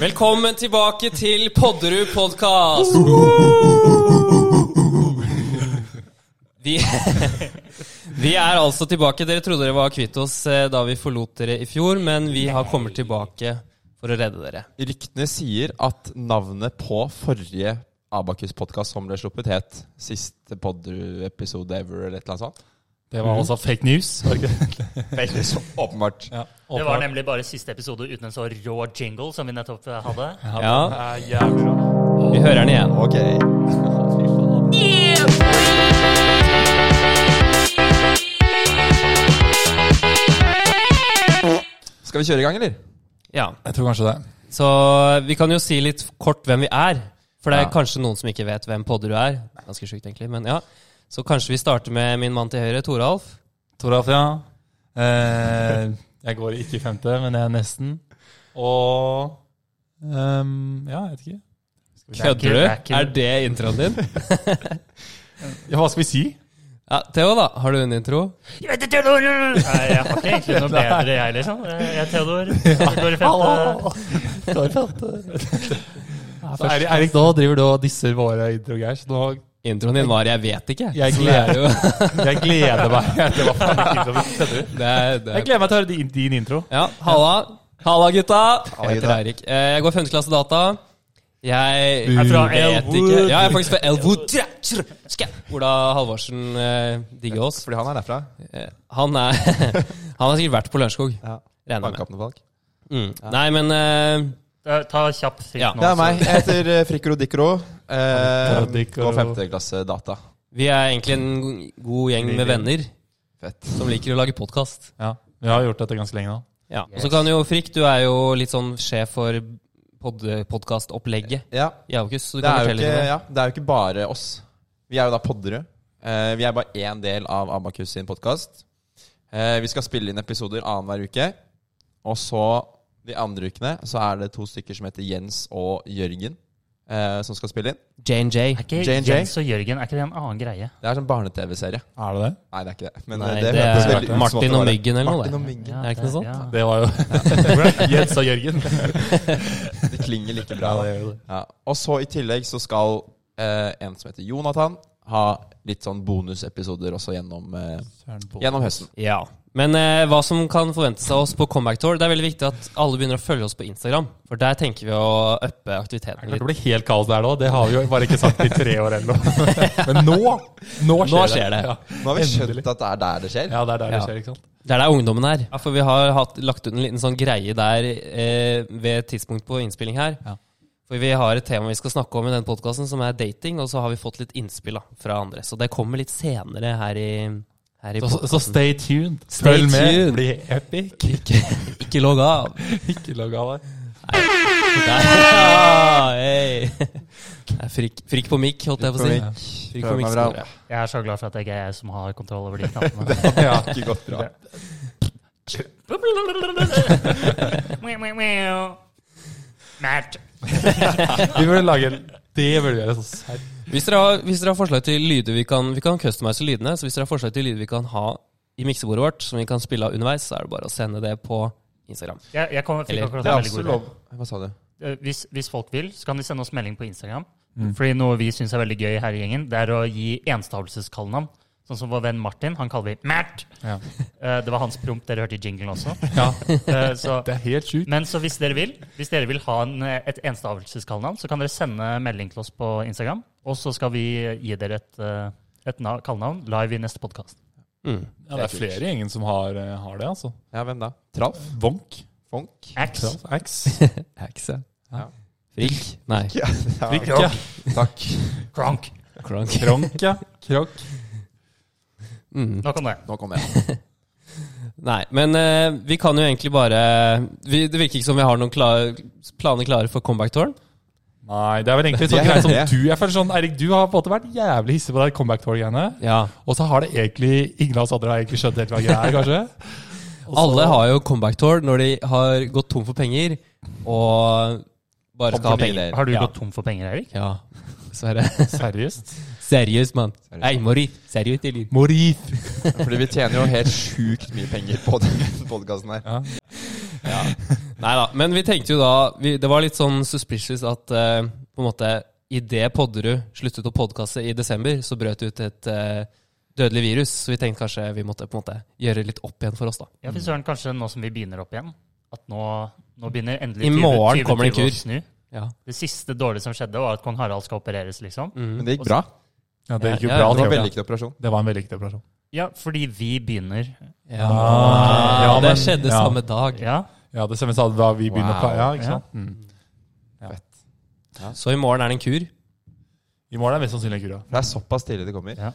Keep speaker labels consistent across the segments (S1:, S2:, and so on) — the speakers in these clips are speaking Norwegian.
S1: Velkommen tilbake til Podderud podkast! Vi, vi er altså tilbake. Dere trodde dere var kvitt oss eh, da vi forlot dere i fjor, men vi har kommet tilbake for å redde dere.
S2: Ryktene sier at navnet på forrige Abakus-podkast som ble sluppet, het 'Siste Podderud-episode ever' eller et eller annet sånt.
S3: Det var altså fake news. var det ikke det?
S2: Veldig så åpenbart.
S4: Det var nemlig bare siste episode uten en så rå jingle som vi nettopp eh, hadde.
S1: Ja,
S3: Det er jævlig bra.
S1: vi hører den igjen.
S2: Ok. Skal vi kjøre i gang, eller?
S1: Ja.
S3: Jeg tror kanskje det.
S1: Så vi kan jo si litt kort hvem vi er. For det er
S2: Ja.
S1: kanskje noen som ikke vet hvem Podderud er. Ganske sjukt, egentlig. Men ja. Så kanskje vi starter med min mann til høyre, Toralf.
S3: Toralf, ja. Eh, jeg går ikke i femte, men jeg er nesten. Og ehm, Ja, jeg vet ikke.
S1: Kødder du?
S4: Kraken.
S1: Er det introen din?
S3: Ja, hva skal vi si?
S1: Ja, Theo, da. Har du en intro?
S4: Jeg vet ikke, Theodor! Nei, jeg har ikke egentlig noe bedre, jeg, liksom. Jeg er Theodor. Jeg går i femte.
S3: Eh, Så Eirik, Eirik, nå driver du og disser våre introgeir, så nå
S1: Introen din var 'Jeg vet ikke'.
S3: Jeg
S1: Så det
S3: gleder-
S1: er jo-
S3: Jeg gleder meg. Det var faen ikke intro.
S1: Det er,
S3: Jeg
S1: det er.
S3: gleder meg til å høre din, din intro.
S1: Ja, halla. Halla, gutta. Jeg heter
S2: gutta.
S1: Eirik. Eh, Jeg går 5. klasse data. Jeg
S3: Er fra
S1: vet
S3: Elwood.
S1: ikke. Ja, jeg er faktisk fra Elwood. Tja, tja, tja. Ola Halvorsen eh, digger oss.
S2: Fordi han er derfra.
S1: Eh, Han er Han har sikkert vært på Lørenskog.
S2: Ja.
S1: Regner jeg med.
S2: Bankkappende folk.
S1: Mm. Nei, men eh,
S4: Ta- Ta kjapp fritt
S1: Ja.
S4: nå.
S2: Det er
S4: så-
S2: meg. Jeg heter eh, Frikro Dikro. Eh,
S3: Dikro.
S2: går femte klasse data.
S1: vi er egentlig en god gjeng med venner
S2: Fett.
S1: som liker å lage podkast.
S3: Ja, Vi har gjort dette ganske lenge nå.
S1: Ja, og så kan jo Frikk, du er jo litt sånn sjef for pod podkastopplegget
S2: Ja,
S1: i Aukus. Så du
S2: det
S1: kan
S2: er, jo
S1: fortelle
S2: ikke,
S1: litt om det.
S2: ja, det er jo ikke bare oss. Vi er jo da Podderud. Eh, vi er bare én del av Abakus sin podkast. Eh, vi skal spille inn episoder annenhver uke. Og så de andre ukene så er det to stykker som heter Jens og Jørgen, eh, som skal spille inn.
S1: JNJ.
S4: Er ikke
S2: Jane, Jane.
S4: Jens og Jørgen er ikke det en annen greie?
S2: Det er sånn barne-TV-serie.
S3: Er det det?
S2: Nei, det er ikke det. Men eh,
S1: Nei,
S2: det,
S1: det
S2: hørtes
S1: er
S2: veldig ut som at
S1: Martin
S2: det
S1: og
S2: var det.
S1: Myggen eller noe.
S2: Martin
S1: det.
S2: og Myggen.
S1: Er det sånn? ikke noe
S4: ja.
S3: Det var jo Jens og Jørgen.
S2: Det klinger like bra. da.
S3: gjør det.
S2: Ja. Og så i tillegg så skal eh, en som heter Jonathan, ha litt sånn bonusepisoder også gjennom, eh, gjennom høsten.
S1: Ja. Men eh, hva som kan forventes av oss på Comeback Tour, det er veldig viktig at alle begynner å følge oss på Instagram. For der tenker vi å uppe aktiviteten
S3: Det
S1: litt.
S3: blir helt kaos der nå. Det har vi jo bare ikke sagt i tre år eller noe. Men nå nå skjer,
S1: Nå skjer det.
S3: Ja.
S2: Nå har vi skjønt
S3: Endelig.
S2: at det er der det skjer.
S3: ja, det er der det
S1: Ja.
S3: skjer, ikke sant?
S1: Det er der ungdommen er. Ja, for vi har hatt, lagt ut en liten sånn greie der eh, ved tidspunkt på innspilling her.
S3: Ja.
S1: For vi har et tema vi skal snakke om i den podkasten, som er dating. Og så har vi fått litt innspill da, fra andre. Så det kommer litt senere her i, her i
S3: Så, så
S1: podcasten.
S3: stay tuned.
S1: Stay
S3: Følg med.
S1: tuned.
S3: Bli epic.
S1: Ikke, ikke logg av.
S3: Ikke logg av deg.
S1: Ah, hey. Det er frikk, frikk på mikk, holdt jeg på å si. Frikk på
S2: Prøv meg
S1: mikk
S2: bra.
S1: store.
S4: Jeg er så glad for at det ikke er jeg som har kontroll over de knappene.
S3: Ja.
S2: Ikke gått bra.
S4: Mjau, mjau, mjau. Matt.
S3: Vi burde lage en- Det burde vi gjøre. sånn serr.
S1: Hvis dere, har, hvis dere har forslag til lyder vi kan Vi kan customize lydene. Så hvis dere har forslag til lyder vi kan ha i miksebordet vårt, som vi kan spille av underveis, så er det bare å sende det på Instagram.
S4: Jeg, jeg kom, fikk
S1: Eller,
S4: akkurat
S2: Det er
S4: en veldig
S2: også
S4: god idé.
S2: lov. Hva sa du?
S4: Eh, hvis, hvis folk vil, så kan de sende oss melding på Instagram.
S1: Mm.
S4: Fordi noe vi syns er veldig gøy her i gjengen, det er å gi enstavelseskallenavn. Sånn som vår venn Martin. Han kaller vi Mert.
S3: Ja.
S4: Eh, Det var hans prompt dere hørte i jinglen også.
S3: ja,
S4: Eh, Så,
S3: det er helt sjukt.
S4: men så hvis dere vil Hvis dere vil ha en, eh, et enstavelseskallenavn, så kan dere sende melding til oss på Instagram. Og så skal vi gi dere et, eh, et na- kallenavn live i neste podkast.
S1: Mm.
S3: Ja, det er flere i gjengen som har, eh, har det, altså.
S2: Ja, hvem da? Tralf?
S3: Vonk.
S2: Fonk?
S4: Ax.
S3: Axe.
S1: Hekse.
S2: Ja.
S1: Frikk. Nei,
S2: Ja,
S3: Frikk,
S2: ja.
S3: ja.
S2: Takk.
S4: Kronk.
S1: kronk.
S3: Kronk, ja. Krokk.
S1: Mm.
S4: Nok om det.
S2: Nå kommer jeg.
S1: Nei, men eh, vi kan jo egentlig bare vi, Det virker ikke som vi har noen klare, planer klare for comeback-touren.
S3: Nei, det er vel egentlig sånn
S2: Det er
S3: greit som
S2: det.
S3: du. Jeg føler sånn, Eirik, du har på en måte vært jævlig hissig på det comeback tour-greiene.
S1: Ja.
S3: Og så har det egentlig ingen av oss andre har egentlig skjønt helt hva greia er, kanskje. Og så-
S1: Alle har jo comeback-tour når de har gått tom for penger og bare skal ha penger.
S4: Har du
S3: Ja.
S4: gått tom for penger, Erik?
S1: Ja, dessverre.
S3: Seriøst?
S1: Seriøst, mann.
S2: Seriøst.
S1: Nei, Mori. Seriøst, eller?
S3: Morif!
S2: Fordi vi tjener jo helt sjukt mye penger på den podkasten her.
S3: Ja.
S1: Ja, Nei da. Men vi tenkte jo da vi, Det var litt sånn suspicious at eh, på en måte idet Podderud sluttet å podkaste i desember, så brøt det ut et eh, dødelig virus. Så vi tenkte kanskje vi måtte på en måte gjøre litt opp igjen for oss, da.
S4: Ja, fy søren, kanskje nå som vi begynner opp igjen. At nå, nå begynner endelig
S1: I
S4: 20-
S1: morgen kommer det en
S4: 20 å
S1: kur.
S4: snu.
S1: Ja.
S4: Det siste dårlige som skjedde, var at kong Harald skal opereres, liksom.
S3: Mm.
S2: Men det gikk bra.
S3: Ja, det gikk jo
S1: Ja, ja,
S2: Det var en
S3: bra. det gjorde det.
S2: vellykket operasjon.
S3: Det var en vellykket operasjon.
S4: Ja, fordi vi begynner.
S1: Ja,
S3: Ah, ja,
S1: det
S3: men-
S1: skjedde
S3: ja.
S1: samme dag.
S4: Ja,
S3: Ja, det stemmer. sa du Da vi begynner
S2: Wow.
S3: å plage. Ja,
S4: Ja.
S3: ikke sant? Mm.
S1: Så i morgen er det en kur.
S3: I morgen er mest sannsynlig kura.
S2: Det er såpass tidlig det kommer.
S3: Det er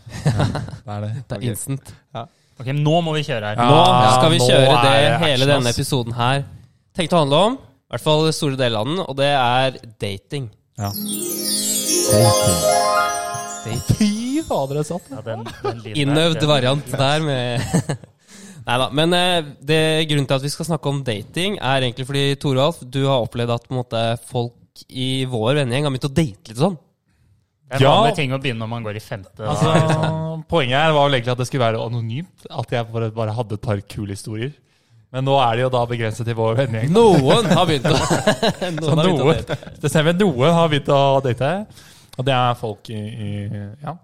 S3: det.
S1: Det er instant.
S4: ok, nå må vi kjøre her.
S3: Ja.
S1: Nå
S3: Ah,
S1: skal vi
S3: nå
S1: kjøre
S3: er
S1: det
S3: det
S1: hele
S3: action,
S1: denne
S3: ass.
S1: episoden her tenkte å handle om. I hvert fall store deler av den, og det er dating.
S3: Ja.
S1: dating.
S3: Fy fader, det er sant.
S4: Ja, den, den lyden der,
S1: Innøvd
S4: den-
S1: variant der med Nei da. Men eh, det, grunnen til at vi skal snakke om dating, er egentlig fordi Toralf, du har opplevd at på en måte, folk i vår vennegjeng har begynt å date litt sånn.
S4: Det er
S3: Ja.
S4: vanlige ting å begynne når man går i femte. da.
S3: Altså, poenget her var vel egentlig at det skulle være anonymt. At jeg bare, bare hadde et par kule historier. Men nå er det jo da begrenset til vår vennegjeng.
S1: Noen har begynt å, noen
S3: Så
S1: har begynt å
S3: noen,
S1: date.
S3: det ser vi noen har begynt å date. Og det er folk i, i Ja.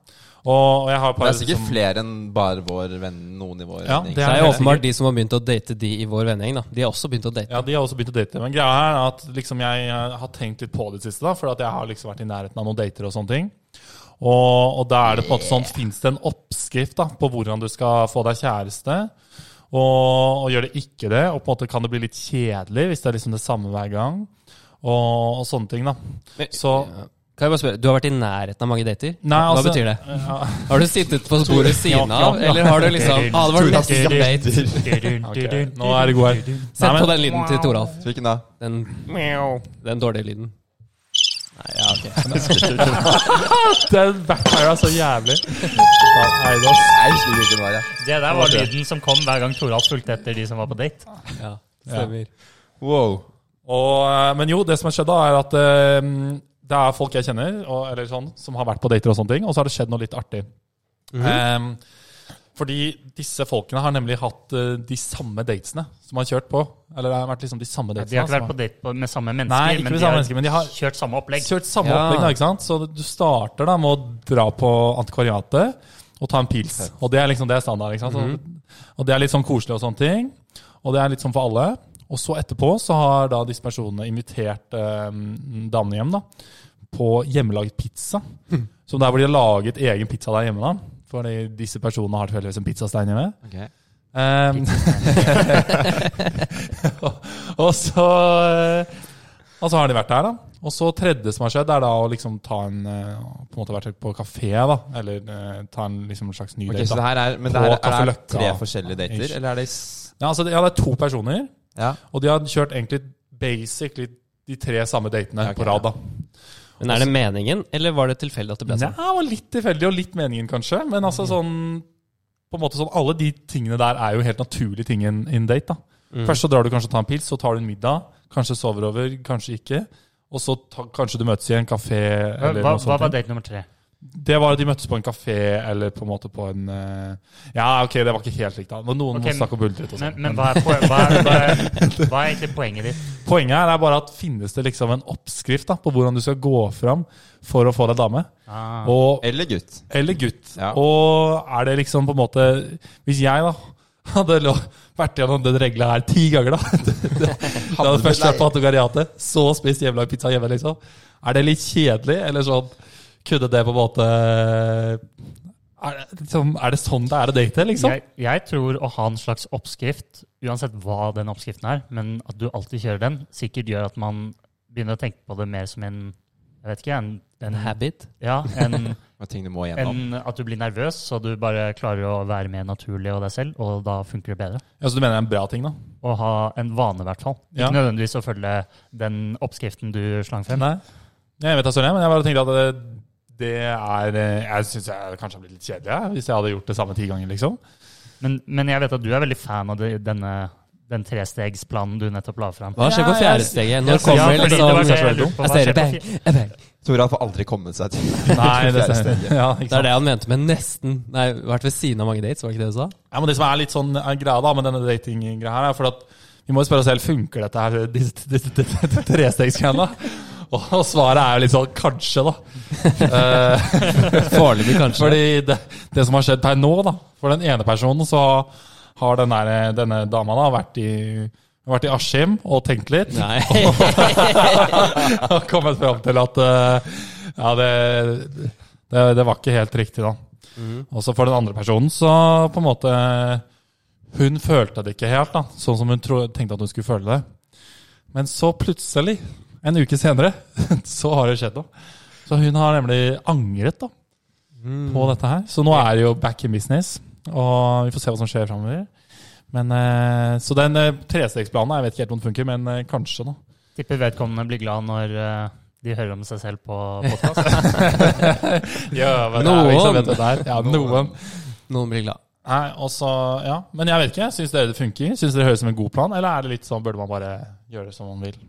S3: Og, og jeg har et
S2: Det
S3: par
S2: er sikkert
S3: som-
S2: flere enn bare vår venn, noen i vår
S3: Ja,
S2: vennegjeng.
S3: det
S1: Det er
S3: helt
S1: jo
S3: sikkert.
S1: åpenbart de som har begynt å date de i vår vennegjeng, da. De har også begynt å date.
S3: Ja, de har også begynt å date. Men greia her er at liksom jeg eh, har tenkt litt på det siste, da, for at jeg har liksom vært i nærheten av noen dater og sånne ting. Og, og da er det på en måte sånn, fins det en oppskrift da, på hvordan du skal få deg kjæreste? Og, og gjør det ikke det, og på en måte kan det bli litt kjedelig hvis det er liksom det samme hver gang. Og, og sånne ting, da.
S1: Men-
S3: Så
S1: Kan jeg bare spørre, Du har vært i nærheten av mange dater?
S3: Nei, altså-
S1: Hva betyr det?
S3: ja,
S1: Har du sittet på sporet ved siden
S4: Ja,
S1: av,
S4: ja.
S1: eller har du liksom ah, det var den neste date?
S3: ok, Nå er det god her.
S1: Sett
S3: Nei,
S1: på
S3: men-
S1: den lyden til Toralf.
S2: Hvilken da?
S1: Den, den dårlige lyden. Nei, ja, ok.
S3: Den backfire er så jævlig. Da, nei, da-
S2: Jeg husker ikke hvilken det var, jeg.
S4: Det der var lyden som kom hver gang Toralf fulgte etter de som var på date.
S1: Ja, stemmer.
S2: Wow.
S3: Og, eh, men jo, det som har skjedd da, er at eh, det er folk jeg kjenner, og, eller sånn, som har vært på dater og sånne ting, og så har det skjedd noe litt artig.
S4: Mhm.
S3: Em, fordi disse folkene har nemlig hatt eh, de samme datesene som har kjørt på. Eller det har vært liksom de samme datesene.
S4: De har ikke vært
S3: som
S4: på date på- med samme mennesker,
S3: Nei, ikke
S4: men,
S3: med
S4: de
S3: samme
S4: har
S3: mennesker, men de har-
S4: kjørt samme opplegg.
S3: Kjørt samme
S1: Ja.
S3: opplegg, da, ikke sant? Så du starter da med å dra på antikvariatet og ta en pils. Og det er liksom det er standard. ikke sant? Så- Og det er litt sånn koselig og sånne ting. Og det er litt sånn for alle. Og så etterpå så har da disse personene invitert eh, damene hjem da, på hjemmelaget pizza. Så der hvor de har laget egen pizza der hjemme, da. Fordi disse personene har tilfeldigvis en pizzastein hjemme.
S2: Ok.
S3: Um, og, og så eh, Og så har de vært der, da. Og så tredje som har skjedd, er da å liksom ta en eh, På en måte vært på kafé, da. Eller eh, ta en liksom slags ny
S2: Ok,
S3: date.
S2: så det
S3: Da.
S2: her er, men
S3: På
S2: det her,
S3: Kaffe
S2: er det
S3: Løkka.
S2: tre forskjellige dater,
S3: Ish.
S2: eller er det s-
S3: Ja, altså, det- ja, det er to personer,
S2: Ja.
S3: og de har kjørt egentlig basically de tre samme datene
S2: Ok,
S3: på rad, da.
S1: Men er det meningen, eller var det tilfeldig at det ble
S3: Nei,
S1: sånn?
S4: altså.
S3: det var litt tilfeldig, og litt meningen, kanskje. Men
S4: Mm.
S3: altså sånn på en måte sånn, Alle de tingene der er jo helt naturlige ting i en i en date. da.
S4: Mm.
S3: Først så drar du kanskje og tar en pils, så tar du en middag. Kanskje sover over, kanskje ikke. Og så ta, kanskje du møtes i en kafé.
S4: Hva,
S3: eller
S4: hva
S3: noe sånt.
S4: var date nummer tre?
S3: Det var at de møttes på en kafé eller på en måte på en eh, Ja, ok, det var ikke helt likt. da. Men Noen
S4: Ok,
S3: må snakke og buldret. og sånn. sånt.
S4: Men, men hva, er, poe- hva, er, hva, er, hva er egentlig poenget ditt?
S3: Poenget her er bare at finnes det liksom en oppskrift da, på hvordan du skal gå fram for å få deg dame?
S4: Ah.
S3: Og
S2: Eller gutt.
S3: Eller gutt.
S2: Ja.
S3: Og er det liksom på en måte Hvis jeg da hadde lo- vært gjennom den regla her ti ganger, da Det hadde
S2: du-
S3: først vært på
S2: nei.
S3: Antogariate, så spist hjemmelagd pizza hjemme, liksom. Er det litt kjedelig, eller sånn Kunne det på en måte er det, liksom, er det sånn det er å date, liksom?
S4: Jeg, jeg tror å ha en slags oppskrift, uansett hva den oppskriften er, men at du alltid kjører den, sikkert gjør at man begynner å tenke på det mer som en jeg vet ikke, en, en,
S1: En habit?
S4: ja, en,
S2: Og ting du må gjennom.
S4: en, at du blir nervøs, så du bare klarer å være mer naturlig og deg selv, og da funker det bedre.
S3: Ja, så du mener det er en bra ting, da?
S4: Å ha en vane, i hvert fall.
S3: Ja.
S4: Ikke nødvendigvis å følge den oppskriften du slang frem.
S3: Nei. Jeg vet da søren, jeg, men jeg bare tenkte at det, det er eh, Jeg syns jeg kanskje har blitt litt kjedelig jeg, hvis jeg hadde gjort det samme ti ganger, liksom.
S4: Men, men jeg vet at du er veldig fan av det, ddenne, den trestegsplanen du nettopp la frem.
S1: Hva skjer på
S3: Ja, jeg-
S1: fjerde steget?
S3: jeg-
S1: Når kommer
S3: ja, fordi
S1: liksom
S3: det var det jeg
S4: lurte på. Hva
S1: Jeg ser det,
S4: skjer
S1: bang,
S4: på
S1: bang.
S2: Toralf får aldri kommet seg til
S3: Nei, det
S2: fjerde
S3: stemmer.
S2: steget.
S3: Ja, ikke
S1: Det er det han mente med nesten. Nei, vært ved siden av mange dates, var det ikke det du sa?
S3: Ja, men Det som er litt sånn eh, greia da med denne datinggreia her, er for at Vi må jo spørre oss selv funker dette her, disse disse- disse- disse trestegsgreiene. Og svaret er jo litt sånn kanskje, da. Eh,
S1: Foreløpig, kanskje.
S3: Fordi det, det som har skjedd per nå, da For den ene personen så har den der, eh, denne dama da vært i, vært i Askim og tenkt litt.
S1: Nei.
S3: Og kommet fram til at eh, Ja, det, det, det var ikke helt riktig, da. Og så for den andre personen så på en måte Hun følte det ikke helt, da. Sånn som hun tro, tenkte at hun skulle føle det. Men så plutselig, en uke senere, så har det skjedd noe. Så hun har nemlig angret, da på dette her. Så nå er det jo back in business, og vi får se hva som skjer framover. Men, eh, så den eh, trestegsplanen jeg vet ikke helt om den funker, men eh, kanskje, da.
S4: Tipper vedkommende blir glad når eh, de hører om seg selv på podkast.
S3: Ja,
S1: men det er jo ikke så
S3: noen.
S1: vet du
S3: Ja, noen.
S1: Noen blir glad.
S3: Nei, og så- ja. Men jeg vet ikke. Syns dere det funker? Syns dere det høres som en god plan, eller er det litt sånn burde man bare gjøre det som man vil?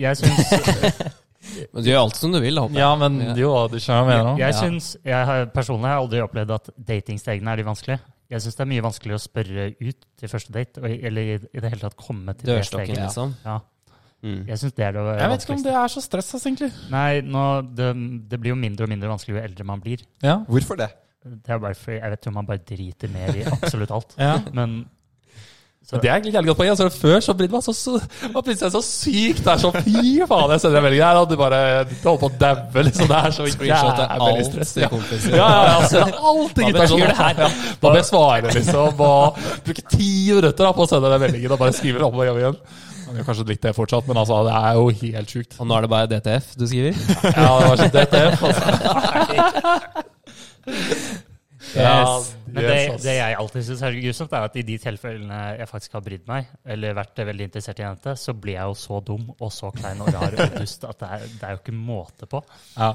S4: Jeg syns,
S1: Men du gjør alt som du vil, da, håper jeg.
S3: Ja, men
S1: Ja.
S3: jo, du skjønner hva jeg mener nå.
S4: jeg, syns jeg har, Personlig har jeg aldri opplevd at datingstegene er de vanskelige. Jeg syns det er mye vanskeligere å spørre ut til første date, og- eller i, i det hele tatt komme til det
S1: Dørstokken,
S4: steget.
S1: liksom.
S4: Ja.
S1: Mm.
S4: Jeg syns det er det
S3: Jeg vet ikke om
S4: vanskeligste.
S3: det er så stress, ass, egentlig.
S4: Nei, nå, det, det blir jo mindre og mindre vanskelig jo eldre man blir.
S3: Ja.
S2: Hvorfor det?
S4: Det er bare fordi jeg vet jo man bare driter mer i absolutt alt.
S3: ja.
S4: Men så,
S3: Men Det er egentlig et jævlig godt poeng. Altså, før så brydde man seg så, man brydde seg så sykt. Det er så fy faen, jeg sender en melding her, og du bare du holder på å daue. Liksom. Det er så
S1: Screenshotte
S3: jævlig
S1: alt
S3: stress.
S1: til
S3: Ja.
S1: kompiser.
S3: Ja, ja, ja, altså, det er alltid
S1: Hva
S3: gutta
S1: betyr
S3: som gjør det her. Ja. Da bør jeg svare, liksom. Og bruke ti minutter da, på å sende den meldingen og bare skrive om og hjem igjen. Han gjør kanskje litt det fortsatt, men altså, det er jo helt sjukt.
S1: Og nå er det bare DTF du skriver?
S3: Ja, det var så DTF, altså.
S1: Yes.
S4: men
S3: yes,
S4: det,
S3: ass.
S4: det jeg alltid syns er grusomt, er at i de tilfellene jeg faktisk har brydd meg, eller vært veldig interessert i en jente, så blir jeg jo så dum og så klein og rar og dust at det er, det er jo ikke måte på.
S3: Ja.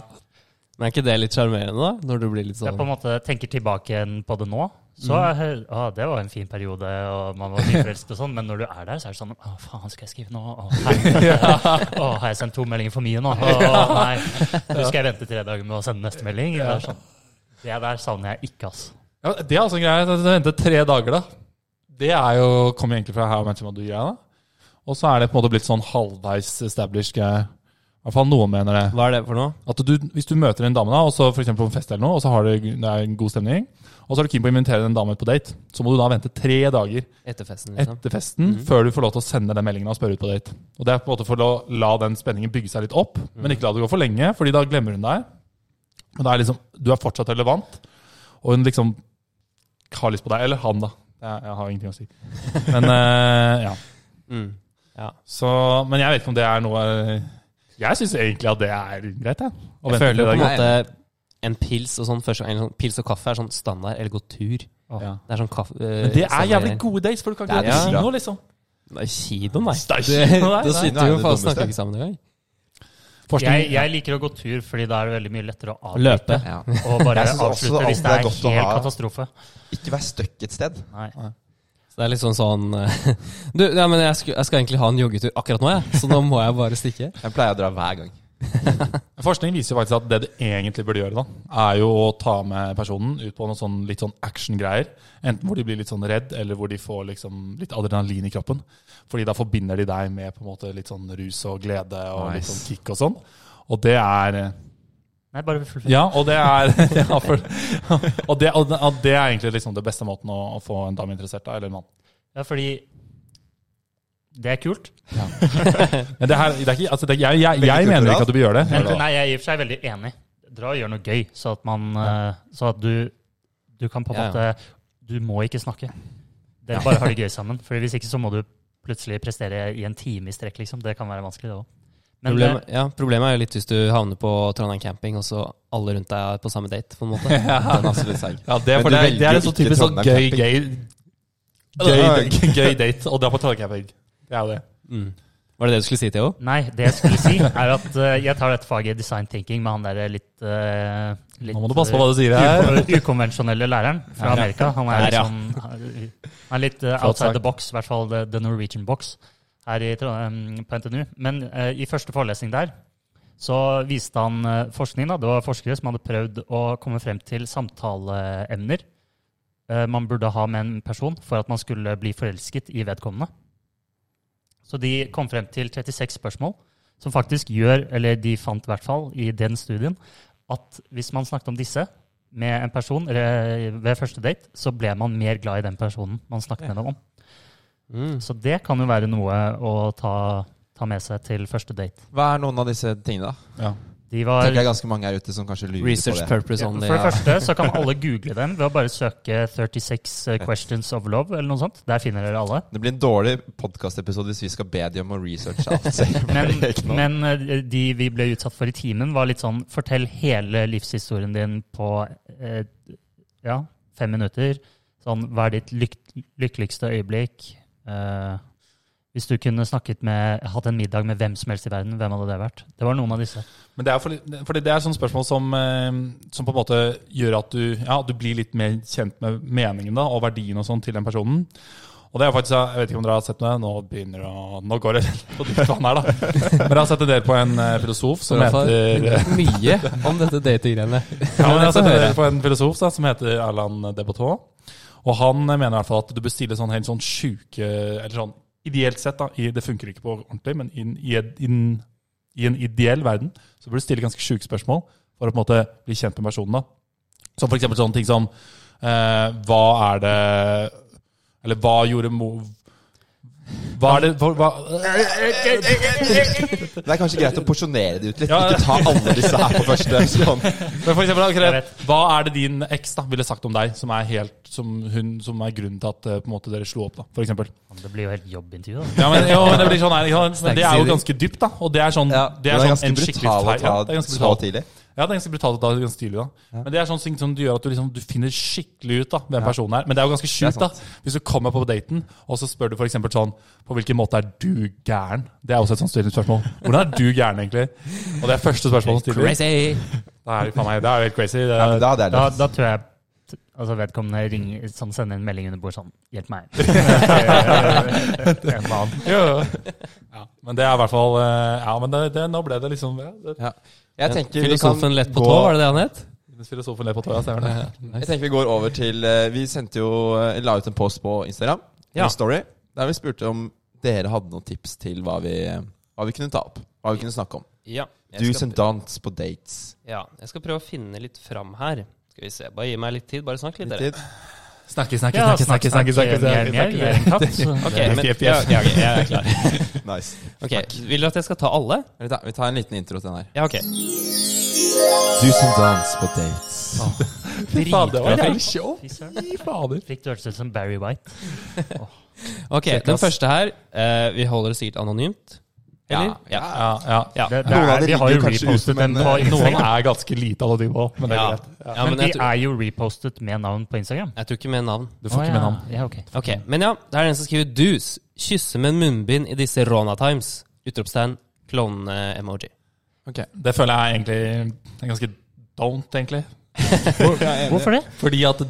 S1: Men er ikke det litt sjarmerende, da? Når du blir litt
S4: Jeg på
S1: sånn
S4: en måte tenker tilbake igjen på det nå.
S2: Mm.
S4: Så eh, ah, Det var en fin periode, og man var nyforelsket og sånn, men når du er der, så er det sånn Å, faen, skal jeg skrive nå? Å, helvete. Å, har jeg sendt to meldinger for mye nå? Å, nei. Nå skal jeg vente tre dager med å sende neste melding. Det, er sånn. det der savner jeg ikke, ass.
S3: Ja, det er altså en greie. Det det venter tre dager, da. Det er jo, kommer egentlig fra How Much Mother-greia. da. Og så er det på en måte blitt sånn halvveis established greie. I hvert fall noen mener det.
S1: Hva er det for noe?
S3: At du, Hvis du møter en dame da, og så for eksempel på en fest eller noe, og så har du, det er en god stemning, og så er du keen på å invitere den damen på date, så må du da vente tre dager
S1: Etter festen, liksom?
S3: etter festen før du får lov til å sende den meldingen og spørre ut på date. Og Det er på en måte for å la den spenningen bygge seg litt opp, men ikke la det gå for lenge, fordi da glemmer hun deg. Men da er liksom, du er fortsatt relevant, og hun liksom har lyst på deg. Eller han, da. Jeg, jeg har ingenting å si. Men eh, ja.
S1: Mm.
S3: Så, men jeg vet ikke om det er noe eh, Jeg syns egentlig at det er greit, jeg. Å
S1: Jeg
S3: vente
S1: føler jo på
S3: tre
S1: en
S3: dager.
S1: måte en pils og sånn, første, en sånn pils og kaffe er sånn standard, eller gå tur.
S3: Ja.
S1: Det er sånn kaffe
S3: Men det er jævlig gode dates, for du kan ikke
S2: Det er
S3: gjøre
S2: det.
S3: det nå, liksom.
S1: Nei, kino, nei.
S3: Det er
S1: Du,
S3: ikke noe der,
S1: da
S3: nei.
S1: sitter
S2: Nei,
S1: vi jo faen
S2: det
S1: og
S2: dummeste.
S1: snakker ikke sammen engang.
S4: Jeg,
S3: Forskning-
S4: jeg liker å gå tur, fordi da er det veldig mye lettere å avbryte
S1: Løpe.
S2: Ja.
S4: og bare
S2: Jeg synes også
S4: avslutte
S2: det
S4: hvis det
S2: alltid er
S4: er
S2: godt å
S4: helt
S2: ha-
S4: katastrofe.
S2: Ikke vær stuck et sted.
S4: Nei.
S1: Så det er litt sånn sånn eh, Du, ja, men jeg, skulle, jeg skal egentlig ha en joggetur akkurat nå, jeg. Så nå må jeg bare stikke.
S2: Jeg pleier å dra hver gang.
S3: Forskning viser jo faktisk at det du egentlig burde gjøre, da, er jo å ta med personen ut på noen sånn, litt sånn action-greier. Enten hvor de blir litt sånn redd, eller hvor de får liksom litt adrenalin i kroppen. Fordi da forbinder de deg med på en måte litt sånn rus og glede og litt sånn
S2: Nice.
S3: kick og sånn. Og det er eh,
S4: Nei, bare fullfør.
S3: Ja, og det er ja, for, og, det, og, det, og det er egentlig liksom det beste måten å, å få en dame interessert av, eller en mann.
S4: Ja, fordi det er kult.
S3: Men det her, det er ikke, altså det, jeg, jeg,
S2: Veldig
S3: jeg mener
S2: kulturelt.
S3: ikke at du bør gjøre det.
S4: Men nei, jeg er i og for seg veldig enig. Dra og gjør noe gøy, så at man eh, Så at du Du kan på en
S1: Ja,
S4: måte Du må ikke snakke. Dere bare har det gøy sammen. For hvis ikke så må du plutselig prestere i en time i strekk, liksom. Det kan være vanskelig, det òg. Men eh, det,
S1: Problemet, ja, problemet er jo litt hvis du havner på Trondheim camping, og så alle rundt deg er på samme date, på en måte.
S2: Den er også litt seig.
S3: Ja, det,
S2: Men
S3: for
S2: du
S3: det,
S2: velger
S3: det er en
S2: jo
S3: sånn
S2: ikke
S3: typisk sånn
S2: Trondheim
S3: gøy,
S2: camping.
S3: gøy, gøy, gøy date å dra på Trondheim-camping. Det er jo det.
S1: Mm. Var det det du skulle si, Theo?
S4: nei, det jeg skulle si, er at eh, jeg tar dette faget i design thinking med han derre litt, eh, litt
S3: Nå må du passe på hva du sier her.
S4: uko- ukonvensjonelle læreren fra Amerika. Han er
S1: Der,
S4: litt,
S1: ja.
S4: sånn, han er litt eh,
S3: Flott sagt.
S4: outside the box, i hvert fall the, the Norwegian box, her i, Trondheim- på NTNU. Men eh, i første forelesning der så viste han eh, forskning. da, Det var forskere som hadde prøvd å komme frem til uh, samtaleemner eh, man burde ha med en person for at man skulle bli forelsket i vedkommende. Så de kom frem til 36 spørsmål, som faktisk gjør, eller de fant i hvert fall i den studien, at hvis man snakket om disse med en person eh, ved første date, så ble man mer glad i den personen man snakket med dem om.
S1: Mm.
S4: Så det kan jo være noe å ta, ta med seg til første date.
S2: Hva er noen av disse tingene, da?
S3: Ja.
S4: De
S2: Jeg sånn,
S4: var
S2: tenker det er ganske mange her ute som kanskje lurer
S1: Mm. Research
S2: på det.
S1: purpose
S4: Ja,
S1: only.
S4: For det
S1: Ja.
S4: første så kan alle google dem ved å bare søke 36 questions of love eller noe sånt. Der finner dere alle.
S2: Det blir en dårlig podkastepisode hvis vi skal be de om å researche alt. selv.
S4: Men,
S2: Ikke noe.
S4: men eh, de vi ble utsatt for i timen, var litt sånn Fortell hele livshistorien din på eh, ja, fem minutter. Sånn, hva er ditt lyk lykkeligste øyeblikk? Eh, hvis du kunne snakket med, hatt en middag med hvem som helst i verden, hvem hadde det vært? Det var noen av disse.
S3: Men det er fordi, fordi det er sånne spørsmål som, eh, som på en måte gjør at du, ja, du blir litt mer kjent med meningen da, og verdien og sånn til den personen. Og det er faktisk, Jeg vet ikke om dere har sett noe, nå begynner det å, nå går det på dypt vann her, da. Men jeg har sett en del på en eh, filosof som
S1: Rafa,
S3: heter eh,
S1: mye om dette datinggreiene.
S3: ja, men jeg har sett en
S1: høre.
S3: del på en filosof da, som heter Erland Debottot. Og han eh, mener i hvert fall at du bør stille sånn helt sånn sjuke Eller sånn ideelt sett, da. I, det funker ikke på ordentlig, men inn- i, ed- inn- i en ideell verden så bør du stille ganske sjuke spørsmål for å på en måte bli kjent med personen. da. Som for eksempel sånne ting som eh, Hva er det Eller hva gjorde mo... Hva er det hva, hva,
S2: Det er kanskje greit å porsjonere det ut litt.
S3: Ja, ja.
S2: Ikke ta alle disse her på første. Sånn.
S3: Men for eksempel, ok,
S4: Jeg vet.
S3: Hva er det din eks da ville sagt om deg, som er, helt, som hun, som er grunnen til at eh, på en måte, dere slo opp? da, for eksempel?
S4: Det blir jo helt jobbintervju, da.
S3: Ja, men, jo, men Det blir sånn her, ikke sant?
S1: Sterk
S3: Det er jo
S1: side.
S3: ganske dypt, da. Og det er sånn, det er
S2: Men
S3: sånn
S2: ganske
S3: en skikkelig
S2: brutal å
S3: feil-
S2: ta
S3: ja, det er ganske
S2: så
S3: brutalt.
S2: tidlig.
S3: Ja, det er ganske brutalt å ta det ganske tidlig, da. Men det er sånn ting som du gjør at du, liksom, du finner skikkelig ut da, hvem personen er. Men det er jo ganske
S2: er
S3: sjukt, da. Hvis du kommer på daten, og så spør du for eksempel sånn På hvilken måte er du gæren? Det er også et sånt spørsmål. Hvordan er du gæren, egentlig? Og det er første spørsmål som stiller.
S1: Crazy!
S3: Det er, faen meg, det er jo helt crazy. Det
S2: Ja, men
S3: er,
S2: da hadde jeg
S4: Da,
S2: løpt.
S4: da tror jeg t- altså vedkommende ringer, sånn, sender en melding under bordet sånn Hjelp meg. En mann.
S3: Jo, jo. Ja, men det er i hvert fall eh, Ja, men det, det, nå ble det liksom ja, det,
S2: Ja. Jeg tenker vi kan
S1: Filosofen lett på
S2: gå-
S1: tå, var det det han het?
S3: Filosofen ler på tåa, stemmer det?
S2: Jeg tenker vi går over til eh, Vi sendte jo eh, la ut en post på Instagram,
S1: Ja.
S2: en story, der vi spurte om dere hadde noen tips til hva vi, eh, hva vi kunne ta opp. Hva vi kunne snakke om.
S1: Ja.
S2: Do's and don'ts på dates.
S1: Ja, jeg skal prøve å finne litt fram her. Skal vi se, Bare gi meg litt tid. Bare snakk litt, dere.
S2: Litt tid.
S3: Snakke, snakke,
S4: Ja, snakk, snakk, mjau, mjau, jeg er en katt.
S1: Ok,
S3: Det er
S1: men,
S3: fjeff,
S1: ja,
S3: fjeff.
S1: ja, ok, jeg er klar.
S2: Nice.
S1: Ok, Vil dere at jeg skal ta alle?
S2: Vi tar, vi tar en liten intro til den her.
S1: Ja, ok.
S2: Do's and don'ts på dates.
S3: Faen, det var
S1: Dritbra.
S3: jævlig show.
S4: Fy søren.
S3: Fy fader.
S4: Fikk du hørtes ut som Barry White?
S1: Ok, Den første her eh, Vi holder det sikkert anonymt. Eller?
S2: Ja, ja.
S3: Ja, ja.
S1: Ja.
S4: Det, det
S2: Noen av
S4: er,
S2: de
S4: vi har
S2: ligger
S4: jo
S2: kanskje ute,
S4: repostet
S2: men,
S4: dem på
S2: eh,
S3: Noen
S4: Instagram.
S3: er ganske lite alle de på, men det er
S1: Ja.
S3: greit.
S1: Ja,
S4: Men
S1: men
S4: de
S1: jeg, tror,
S4: er jo repostet med navn på Instagram.
S1: jeg tror ikke med navn.
S3: Du får
S4: Å,
S3: ikke med
S4: ja.
S3: navn.
S4: Ja, ok.
S1: Ok, Men ja, det er den som skriver 'dus'. Kysse med munnbind i disse Rona Times. Utropstegn. Klovne-emoji.
S3: Det føler jeg egentlig er ganske don't, egentlig.
S4: Hvorfor det?
S3: Fordi at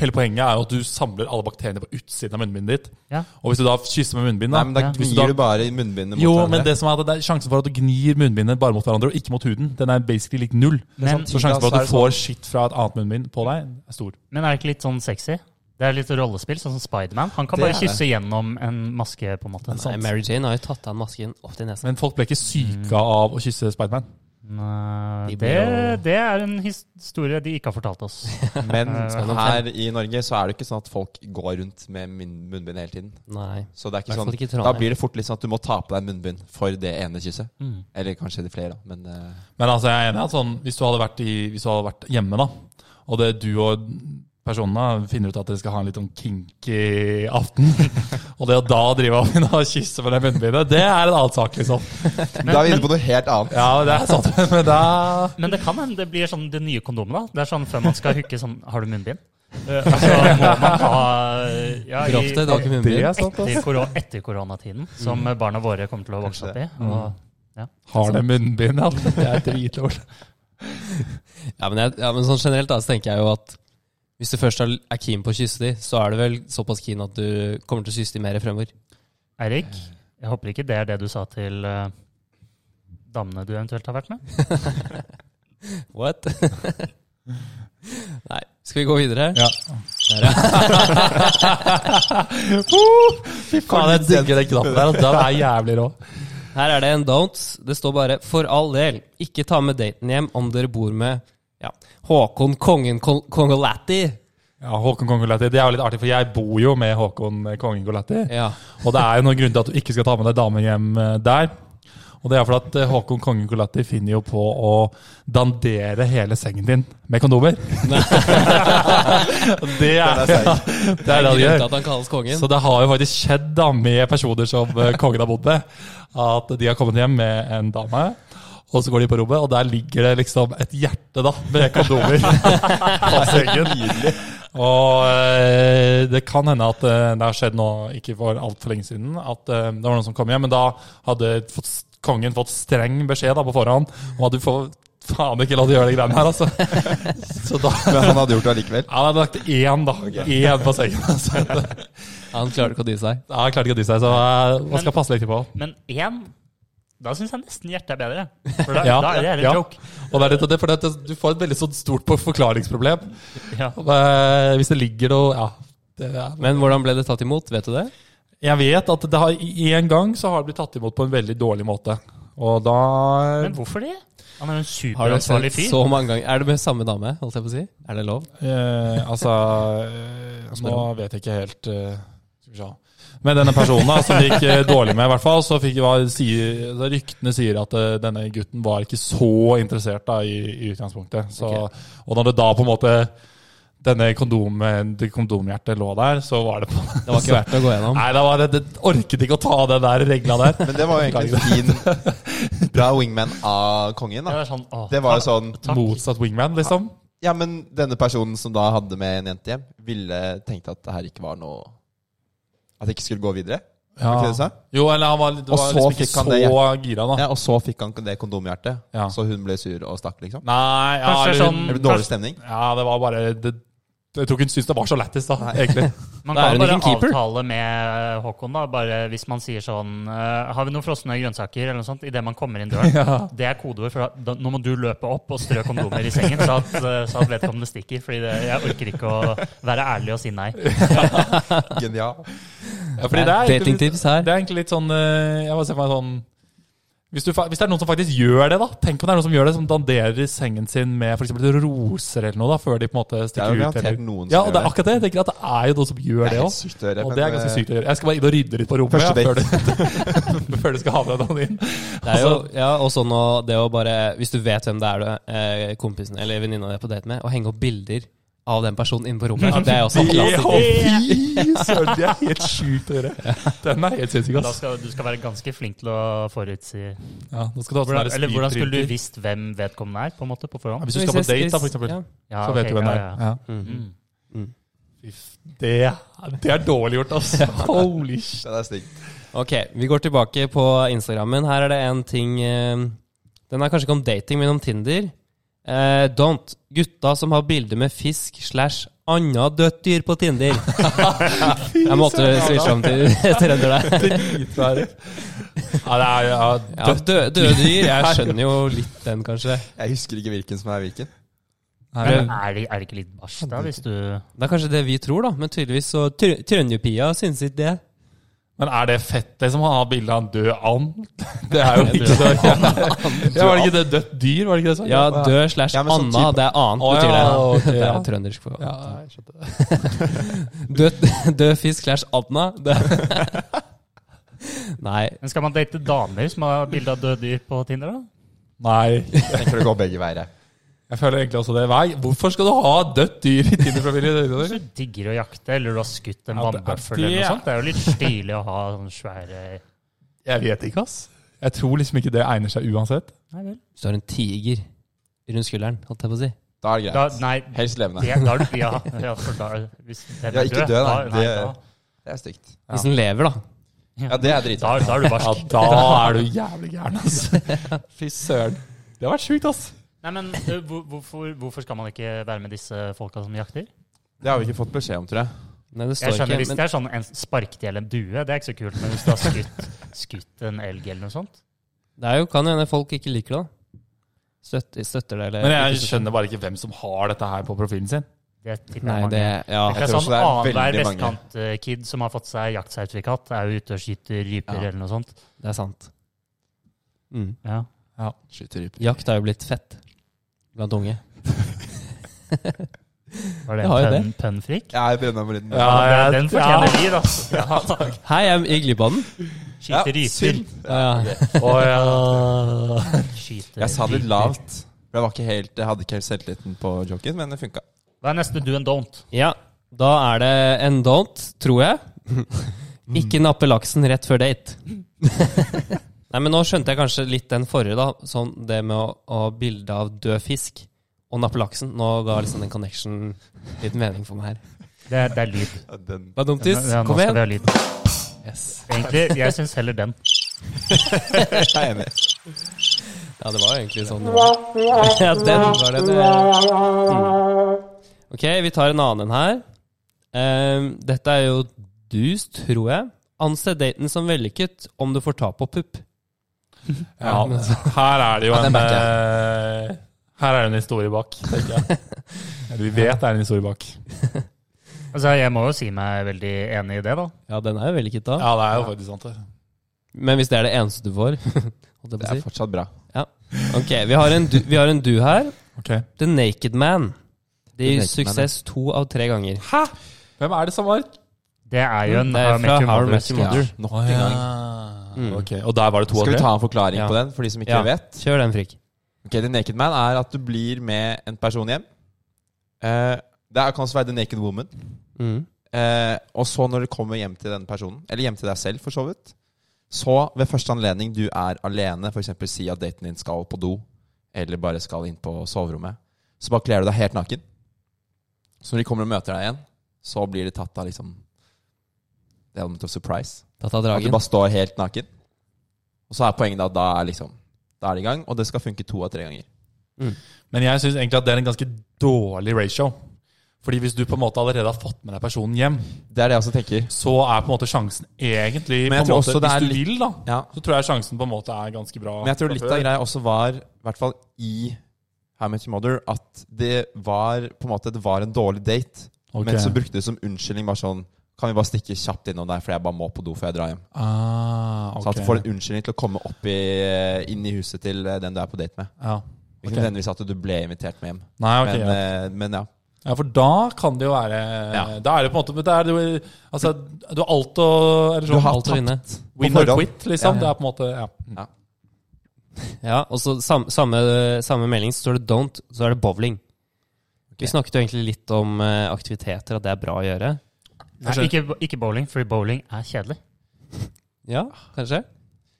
S3: hele poenget er jo at du samler alle bakteriene på utsiden av munnbindet ditt.
S4: Ja.
S3: Og hvis du da kysser med munnbind, da
S2: Nei, men da
S4: Ja.
S3: Hvis du da-
S2: gnir du bare i munnbindet mot
S3: Jo,
S2: hverandre.
S3: men det som er at det er sjansen for at du gnir munnbindet bare mot hverandre og ikke mot huden, den er basically lik null.
S4: Men,
S3: Så
S2: Ja,
S3: sjansen for
S2: så er
S3: at
S2: det
S3: du får skitt fra et annet munnbind på deg, er stor.
S4: men er det ikke litt sånn sexy? Det er litt rollespill, sånn som Spiderman. Han kan
S2: Det
S4: bare
S2: er det.
S4: kysse gjennom en maske, på en måte.
S1: Nei, Mary Jane har jo tatt av masken opp til nesen.
S3: Men folk ble ikke syke av å kysse Spiderman.
S4: Nei,
S1: De
S4: eh, det,
S1: blir jo-
S4: det er en historie de ikke har fortalt oss.
S2: Men
S4: Skal
S2: her i Norge så er det ikke sånn at folk går rundt med munn- munnbind hele tiden.
S1: Nei.
S2: Så det er ikke
S1: Hvertfall
S2: sånn
S1: ikke i Trondheim.
S2: Da blir det fort litt sånn at du må ta på deg munnbind for det ene kysset.
S4: Mm.
S2: Eller kanskje det flere, da. Men eh,
S3: Men altså, jeg er enig i at sånn, hvis du hadde vært, i, hvis du hadde vært hjemme, da, og det du og personene finner ut at dere skal ha en litt sånn kinky aften, og det å da drive og begynne å kysse med det munnbindet, det er en annen sak, liksom.
S2: Da er vi inne på noe helt annet.
S3: Ja, det er sant, men da
S4: Men det kan hende det blir sånn det nye kondomet. da. Det er sånn Før man skal hooke sånn Har du munnbind? Eh, og så må man ha eh, ja, i-
S1: Dropp det, det var ikke
S3: Det
S1: munnbind.
S3: er sant,
S4: etter,
S3: altså.
S4: koro etter koronatiden, som barna våre kommer til å vokse opp i. Og,
S3: Har det altså. munnbind, ja. Det er dritlort.
S1: Ja, men, jeg, ja, men sånn generelt da, så tenker jeg jo at hvis du først er er keen på å kysse de, så er du vel såpass keen at du kommer til å kysse de mer fremover.
S4: Eirik, jeg håper ikke det er det du sa til eh, damene du eventuelt har vært med?
S1: What? Nei. Skal vi gå videre?
S3: Ja.
S1: Der, ja.
S3: Fy
S1: Faen, jeg digger den knappen der. altså.
S3: Det er jævlig rå.
S1: Her er det en don'ts. Det står bare 'for all del, ikke ta med daten hjem om dere bor med ja, Håkon Kongen Kol- Kongolatti'.
S3: Ja, Håkon Kongolatti. Det er jo litt artig, for jeg bor jo med Håkon eh, Kongen Golatti.
S1: Ja.
S3: Og det er jo noen grunn til at du ikke skal ta med deg damer hjem eh, der. Og det er fordi at eh, Håkon Kongen Golatti finner jo på å dandere hele sengen din med kondomer. Og det er
S2: Den er
S3: ja, det er det han
S1: Grunnen til
S3: gjør.
S1: at han kalles kongen.
S3: Så det har jo faktisk skjedd da med personer som eh, kongen har bodd med, at de har kommet hjem med en dame. Og så går de på rommet, og der ligger det liksom et hjerte da, med kondomer på sengen. Og eh, det kan hende at eh, det har skjedd nå, ikke for altfor lenge siden, at eh, det var noen som kom hjem, men da hadde fått, kongen fått streng beskjed da, på forhånd om at du får faen ikke la du gjøre de greiene her, altså. Så da
S2: Men han hadde gjort det allikevel.
S3: Ja, da lagt én, da. Én på sengen. Altså.
S1: Han klarer ikke å dy seg.
S3: Ja, jeg klarte ikke å dy seg, så eh, man skal passe litt på.
S4: Men én Da syns jeg nesten hjertet er bedre. For da,
S3: Ja,
S4: da er det litt
S3: ja.
S4: joke.
S3: Og det er litt av det, for det, at du får et veldig sånn stort forklaringsproblem
S4: Ja.
S3: Eh, hvis det ligger noe Ja. Det er
S1: Men hvordan ble det tatt imot? Vet du det?
S3: Jeg vet at det har, i- en gang så har det blitt tatt imot på en veldig dårlig måte. Og da eh,
S4: Men hvorfor det? Han er jo en
S1: Har du
S4: superansvarlig
S1: sett
S4: fyr.
S1: så mange ganger? Er det med samme dame? holdt jeg på å si? Er det lov?
S3: eh, Altså eh, Nå vet jeg ikke helt eh, Skal vi se. Men denne personen da, som det gikk eh, dårlig med, i hvert fall, så fikk var, sier, da ryktene sier at eh, denne gutten var ikke så interessert da, i, i utgangspunktet. Så, Og når det da på en måte denne kondom, det kondomhjertet lå der, så var det på
S1: Det var ikke verdt å gå gjennom.
S3: Altså- Nei, det, var, det, det orket ikke å ta den der regla der.
S2: Men det var jo egentlig en fin bra wingman av kongen.
S4: Det
S2: da
S4: er sånn, å,
S2: Det var jo sånn
S4: Takk.
S3: Motsatt wingman, liksom.
S2: Ja, men denne personen som da hadde med en jente hjem, ville tenkt at det her ikke var noe At det ikke skulle gå videre.
S3: Ja.
S2: Var ikke det du sa?
S3: Jo, eller han var, det
S2: Og
S3: var
S2: så
S3: liksom ikke
S2: fikk han
S3: så
S2: det
S3: gira, da.
S2: Ja, Og så fikk han det kondomhjertet,
S3: Ja. Mm.
S2: så hun ble sur og stakk, liksom.
S3: Nei, ja,
S4: Kanskje
S3: eller,
S4: sånn-
S2: Det ble dårlig stemning.
S3: ja, det var bare det, Jeg tror ikke hun syntes det var så lættis, da, egentlig.
S4: Man
S1: Da er
S4: kan
S1: hun
S4: bare
S1: ikke en keeper.
S4: avtale med Håkon, da, bare hvis man sier sånn eh, Har vi noen frosne grønnsaker eller noe sånt idet man kommer inn døren?
S3: Ja.
S4: Det er kodeord for at da, nå må du løpe opp og strø kondomer i sengen, så at, eh, så at vedkommende stikker. Fordi det, jeg orker ikke å være ærlig og si nei.
S2: Genial.
S3: Ja, fordi det er egentlig-
S1: Datingtips her.
S3: Det er egentlig litt sånn eh, Jeg må se for meg sånn hvis, du, fa- hvis det er noen som faktisk gjør det, da tenk om det er noen som gjør det, som danderer i sengen sin med for eksempel roser eller noe, da, før de på en måte
S2: Det er
S3: stikker
S2: jo
S3: ut.
S2: garantert
S3: Eller.
S2: noen som
S3: Ja,
S2: gjør
S3: og det er
S2: det.
S3: akkurat det. Jeg tenker at det er jo noen som gjør det
S2: helt
S3: òg.
S2: sykt å gjøre.
S3: Og
S2: men,
S3: det er ganske
S2: eh,
S3: sykt å gjøre. Jeg skal bare inn og rydde litt på rommet ja,
S2: Første
S3: før, du, før du skal ha med deg noen inn.
S1: Det er jo, ja, og sånn å- det å bare, Hvis du vet hvem det er du eh, kompisen eller venninna di er på date med, å henge opp bilder av den personen inne på rommet, det er også en
S3: Det-
S1: Sånn klassiker.
S3: Fy søren, det er helt sjukt å gjøre. Den er helt sinnssyk,
S4: Men Da
S3: ass.
S4: skal, du skal være ganske flink til å forutsi
S3: Ja, nå skal du ha sånn
S4: hvordan,
S3: der
S4: Eller hvordan skulle
S3: speedprinter.
S4: du visst hvem vedkommende er, på en måte, på
S3: Ja,
S4: forhånd?
S3: Hvis du skal på date, da, for eksempel,
S1: Ja.
S4: Ja,
S3: så vet
S4: ok,
S3: du hvem det
S4: ja,
S3: er.
S4: ja.
S3: Ja.
S1: Mm.
S4: Mm.
S3: Det, det er dårlig gjort, ass. Holy shit.
S2: Det er stygt.
S1: Ok, vi går tilbake på Instagrammen. Her er det en ting eh, Den er kanskje ikke om dating, men om Tinder. Eh, don't. Gutta som har bilde med fisk slash anna dødt dyr på Tinder. Jeg måtte switche om til trønder der.
S3: Dritvære. Ja, det er ja,
S1: Ja,
S3: dødt.
S1: dø- døde dyr. Jeg skjønner jo litt den, kanskje.
S2: Jeg husker ikke hvilken som er hvilken.
S4: Men er det, er det ikke litt bæsj, da, hvis du
S1: Det er kanskje det vi tror, da. Men tydeligvis så tr Trønderpia syns ikke det.
S3: Men er det fett, liksom? å ha bilde av en død and? Det er jo ikke så ja, Var det ikke det dødt dyr? Var det ikke det sånn?
S1: Ja, død slash
S2: Ja, men sånn
S1: anna,
S2: type-
S1: det er annet,
S3: Å,
S1: betyr det.
S3: ja, ok,
S1: Det
S3: ja.
S1: er trøndersk. for-
S3: Ja, jeg skjønte det.
S1: Død, død fisk slash anna. Det. Nei,
S4: Men skal man date damer som har bilde av døde dyr på Tinder, da?
S3: Nei.
S2: Jeg tror det går begge veier. her.
S3: Jeg føler egentlig også det. Nei, hvorfor skal du ha dødt dyr i Tinder-familien?
S4: Hvis du digger å jakte, eller du har skutt en
S3: Ja, det er
S4: vannbøffel eller
S3: det.
S4: noe sånt, det er jo litt stilig å ha sånne svære
S3: Jeg vet ikke, ass. Jeg tror liksom ikke det egner seg uansett.
S4: Nei vel.
S1: hvis du har en tiger rundt skulderen, holdt jeg på å si.
S2: Da er det
S4: Da,
S2: greit.
S4: nei,
S2: Helst levende.
S4: det, da er du Ja, ja, for da, hvis den
S2: Ja,
S4: er
S2: ikke
S4: død,
S2: død,
S4: da,
S2: da.
S4: nei,
S2: Det-
S4: da,
S2: Det er stygt.
S1: Hvis den lever, da.
S2: Ja, det er
S4: da,
S2: drita.
S4: da er du
S3: Ja,
S4: barsk.
S3: da er du jævlig gæren, ass. Fy søren. Det har vært sjukt, ass.
S4: Nei, men ø, hvor- hvorfor, hvorfor skal man ikke være med disse folka som jakter?
S2: Det har vi ikke fått beskjed om, tror jeg.
S1: Nei, det
S4: Jeg
S1: står
S4: skjønner, Hvis
S1: ikke.
S4: det er sånn en sparket i hjel en due, det er ikke så kult. Men hvis du har skutt, skutt en elg eller noe sånt
S1: Men det er jo, kan hende folk ikke liker det, da. Støtter, støtter det, eller
S3: Men jeg
S1: ikke støtter.
S3: skjønner bare ikke hvem som har dette her på profilen sin.
S4: Det tipper jeg
S1: Nei,
S4: mange.
S1: det
S2: Ja,
S4: Det
S2: jeg
S4: er
S2: tror
S4: sånn
S2: også det er
S4: annenhver
S2: veldig mange.
S4: vestkantkid som har fått seg jaktsertifikat, er jo ute og skyter ryper
S2: Ja.
S4: eller noe sånt.
S1: Det er sant. Mm.
S4: Ja.
S2: Skyter ryper.
S1: Jakt har jo blitt fett blant unge.
S4: Var det
S1: Jeg har jo
S4: en pønn, pønnfrik?
S2: Jeg er brenna på lyden.
S3: Ja,
S4: Ja,
S3: jeg-
S4: den fortjener liv, altså. Ja.
S1: Hei, jeg gikk glipp av den.
S2: Ja,
S4: Skyter ryper.
S2: synd.
S1: Ja.
S3: Å, ja.
S4: Skyter
S2: Jeg sa det litt
S4: ryper.
S2: lavt. for Jeg, var ikke helt, jeg hadde ikke helt selvtilliten på joken, men det funka.
S4: Hva er neste do and don't?
S1: ja. Da er det en don't, tror jeg. Ikke nappe laksen rett før date. Nei, men Nå skjønte jeg kanskje litt den forrige, da. Sånn det med å, å ha bilde av død fisk og nappe laksen. Nå ga liksom den connection litt mening for meg her.
S4: Det er, det er lyd.
S1: Hva er
S4: Ja,
S1: dumtis?
S4: ja, nå
S1: Kom
S4: skal
S1: igjen.
S4: vi ha lyd.
S1: Yes.
S4: Egentlig, jeg syns heller den.
S2: Jeg er enig.
S1: Ja, det var jo egentlig sånn. Ja, den var det. det. Mm. Ok, vi tar en annen en her. Ehm, dette er jo dus, tror jeg. Anse daten som vellykket om du får ta på pupp.
S3: Ja, her er det jo
S2: Ja, den
S3: en
S2: backer
S3: eh, Her er det en historie bak, tenker jeg. Eller vi vet det er en historie bak.
S4: Altså, jeg må jo si meg veldig enig i det, da.
S1: Ja, den er jo vellykket da.
S3: Ja, det er jo faktisk sant. det.
S1: Men hvis det er det eneste du får holdt jeg
S2: Det
S1: på å
S2: er
S1: si.
S2: fortsatt bra.
S1: Ok, vi har, en du, vi har en du her.
S3: Ok.
S1: The Naked Man. Det
S2: The
S1: gir
S2: Naked Man, ja.
S1: suksess to av tre ganger.
S3: Hvem er det som var
S4: Det er jo en
S1: Det er
S4: How
S1: fra
S4: I Met Your
S1: How I Met Your
S2: Ja,
S4: Mother.
S1: Mother.
S2: nok
S3: Å,
S2: en gang.
S3: ja.
S1: Mm.
S3: Ok, Og der var det to av
S2: Skal vi
S3: tre?
S2: ta en forklaring
S1: Ja.
S2: på den, for de som ikke
S1: Ja.
S2: vet?
S1: Kjør den, Frikk.
S2: Ok, The Naked Man er at du blir med en person hjem. Eh, det er- kan også være The Naked Woman.
S1: Mm.
S2: Eh, og så når du kommer hjem til den personen, eller hjem til deg selv for så vidt, så ved første anledning du er alene, f.eks. si at daten din skal på do, eller bare skal inn på soverommet, så bare kler du deg helt naken. Så når de kommer og møter deg igjen, så blir de tatt av liksom Det er element of surprise.
S1: Da tar
S2: At
S1: dragen.
S2: du bare står helt naken. Og så er poenget da at da er liksom Da er det i gang, og det skal funke to av tre ganger.
S3: Men jeg syns egentlig at det er en ganske dårlig ratio. Fordi hvis du på en måte allerede har fått med deg personen hjem,
S2: Det er det jeg også tenker.
S3: så er på en måte sjansen
S2: Men jeg
S3: egentlig på en
S2: tror
S3: måte,
S2: også det
S3: Hvis
S2: er
S3: du
S2: litt-
S3: vil, da,
S2: Ja.
S3: så tror jeg sjansen på en måte er ganske bra.
S2: Men jeg tror
S3: fra
S2: litt
S3: før.
S2: av greia også var, i hvert fall i How I Met Your Mother, at det var på en måte Det var en dårlig date.
S3: Ok.
S2: Men så brukte du det som unnskyldning bare sånn Kan vi bare stikke kjapt innom der, for jeg bare må på do før jeg drar hjem.
S3: ah,
S2: Så at
S3: ok.
S2: du får en unnskyldning til å komme opp i, inn i huset til eh, den du er på date med.
S3: ja.
S2: Ikke
S3: Ok.
S2: nødvendigvis at du ble invitert med hjem.
S3: Nei, ok.
S2: men,
S3: ja.
S2: eh, men ja.
S3: ja, for da kan det jo være
S2: Ja.
S3: Da er det på en måte men det er, jo- Altså, du har alt å eller
S2: Du
S3: sånn,
S2: har
S3: alt å
S1: tapt.
S3: vinne. Win or
S2: forhånd.
S3: quit, liksom.
S2: Ja.
S3: Det er på en måte Ja.
S1: Ja, og så sam, samme, samme melding så står det don't, så er det bowling. Vi snakket jo egentlig litt om eh, aktiviteter, at det er bra å gjøre.
S4: Nei, ikke, ikke bowling, for bowling er kjedelig.
S1: Ja, kanskje?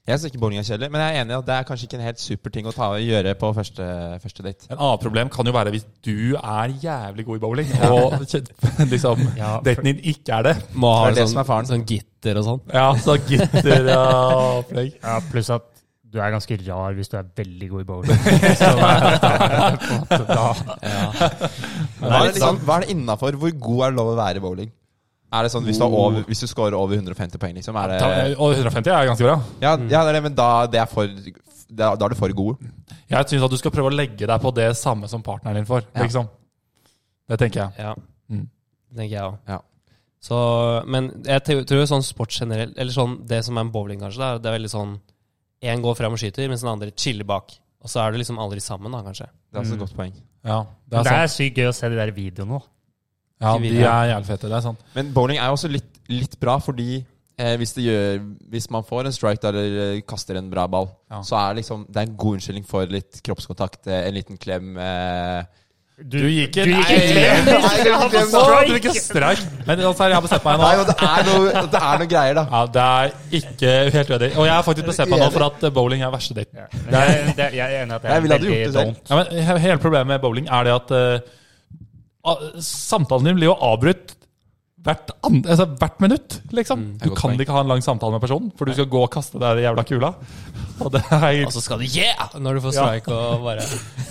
S2: Jeg syns ikke bowling er kjedelig, men jeg er enig i at det er kanskje ikke en helt super ting å ta, gjøre på første, første date.
S3: En annen problem kan jo være hvis du er jævlig god i bowling, og kje- liksom
S4: Ja, for-
S3: daten din ikke er det.
S1: Må ha
S2: Det er det
S1: sånn,
S2: som er faren.
S1: sånn gitter og sånn.
S3: Ja, så gitter og opplegg.
S4: Ja, Pluss at du er ganske rar hvis du er veldig god i bowling. Så, eh, på en måte, da.
S2: Hva er det, liksom, hva er det innafor? Hvor god er det lov å være i bowling? Er det sånn hvis du, har over, hvis du scorer over 150 poeng, liksom? Er det,
S3: Og 150 er Mm. ganske bra.
S2: ja, ja, det er det, men da, det er for, da, da er du for god.
S3: Jeg syns at du skal prøve å legge deg på det samme som partneren din får.
S2: Ja.
S3: Liksom. Det tenker jeg.
S1: Ja,
S3: Mm.
S1: det tenker jeg òg.
S2: Ja.
S1: Så, men jeg te- tror jo sånn sport generelt, eller sånn det som er med bowling, kanskje, da, det er veldig sånn Én går fram og skyter, mens den andre chiller bak. Og så er du liksom aldri sammen, da, kanskje.
S2: Det er også
S3: Mm.
S2: et godt poeng.
S3: Ja, det
S4: Men
S3: er
S4: Det
S3: sant.
S4: er sykt gøy å se de der videoene. da.
S3: Ja,
S1: ikke
S3: de
S1: videre.
S3: er jævlig fete. Det er sant.
S2: Men bowling er jo også litt, litt bra, fordi eh, hvis, det gjør, hvis man får en strike da, eller eh, kaster en bra ball,
S3: Ja.
S2: så er det, liksom, det er en god unnskyldning for litt kroppskontakt, eh, en liten klem. Eh,
S3: Du gikk
S4: Du gikk i klem!
S2: Nei, jeg gikk i klem, da.
S3: Du gikk i streik. Men altså, jeg har bestemt meg
S2: Nei,
S3: nå.
S2: men det er noe, det er noe greier, da.
S3: Ja, det er ikke helt uenig. Og jeg har faktisk bestemt meg nå for at eh, bowling er verste daten.
S4: Ja, men Jeg, det, jeg er enig i at det
S2: Jeg
S4: er
S2: ville hadde gjort
S4: veldig
S2: det selv.
S4: don't.
S3: Ja, men he- Hele problemet med bowling er det at eh, a- samtalen din blir jo avbrutt hvert, an- altså, hvert minutt. liksom.
S2: det er
S3: Du
S2: godt
S3: kan
S2: poeng.
S3: ikke ha en lang samtale med personen, for du skal gå og kaste den jævla kula. Og det er,
S1: Og så skal du yeah! Når du får strike og bare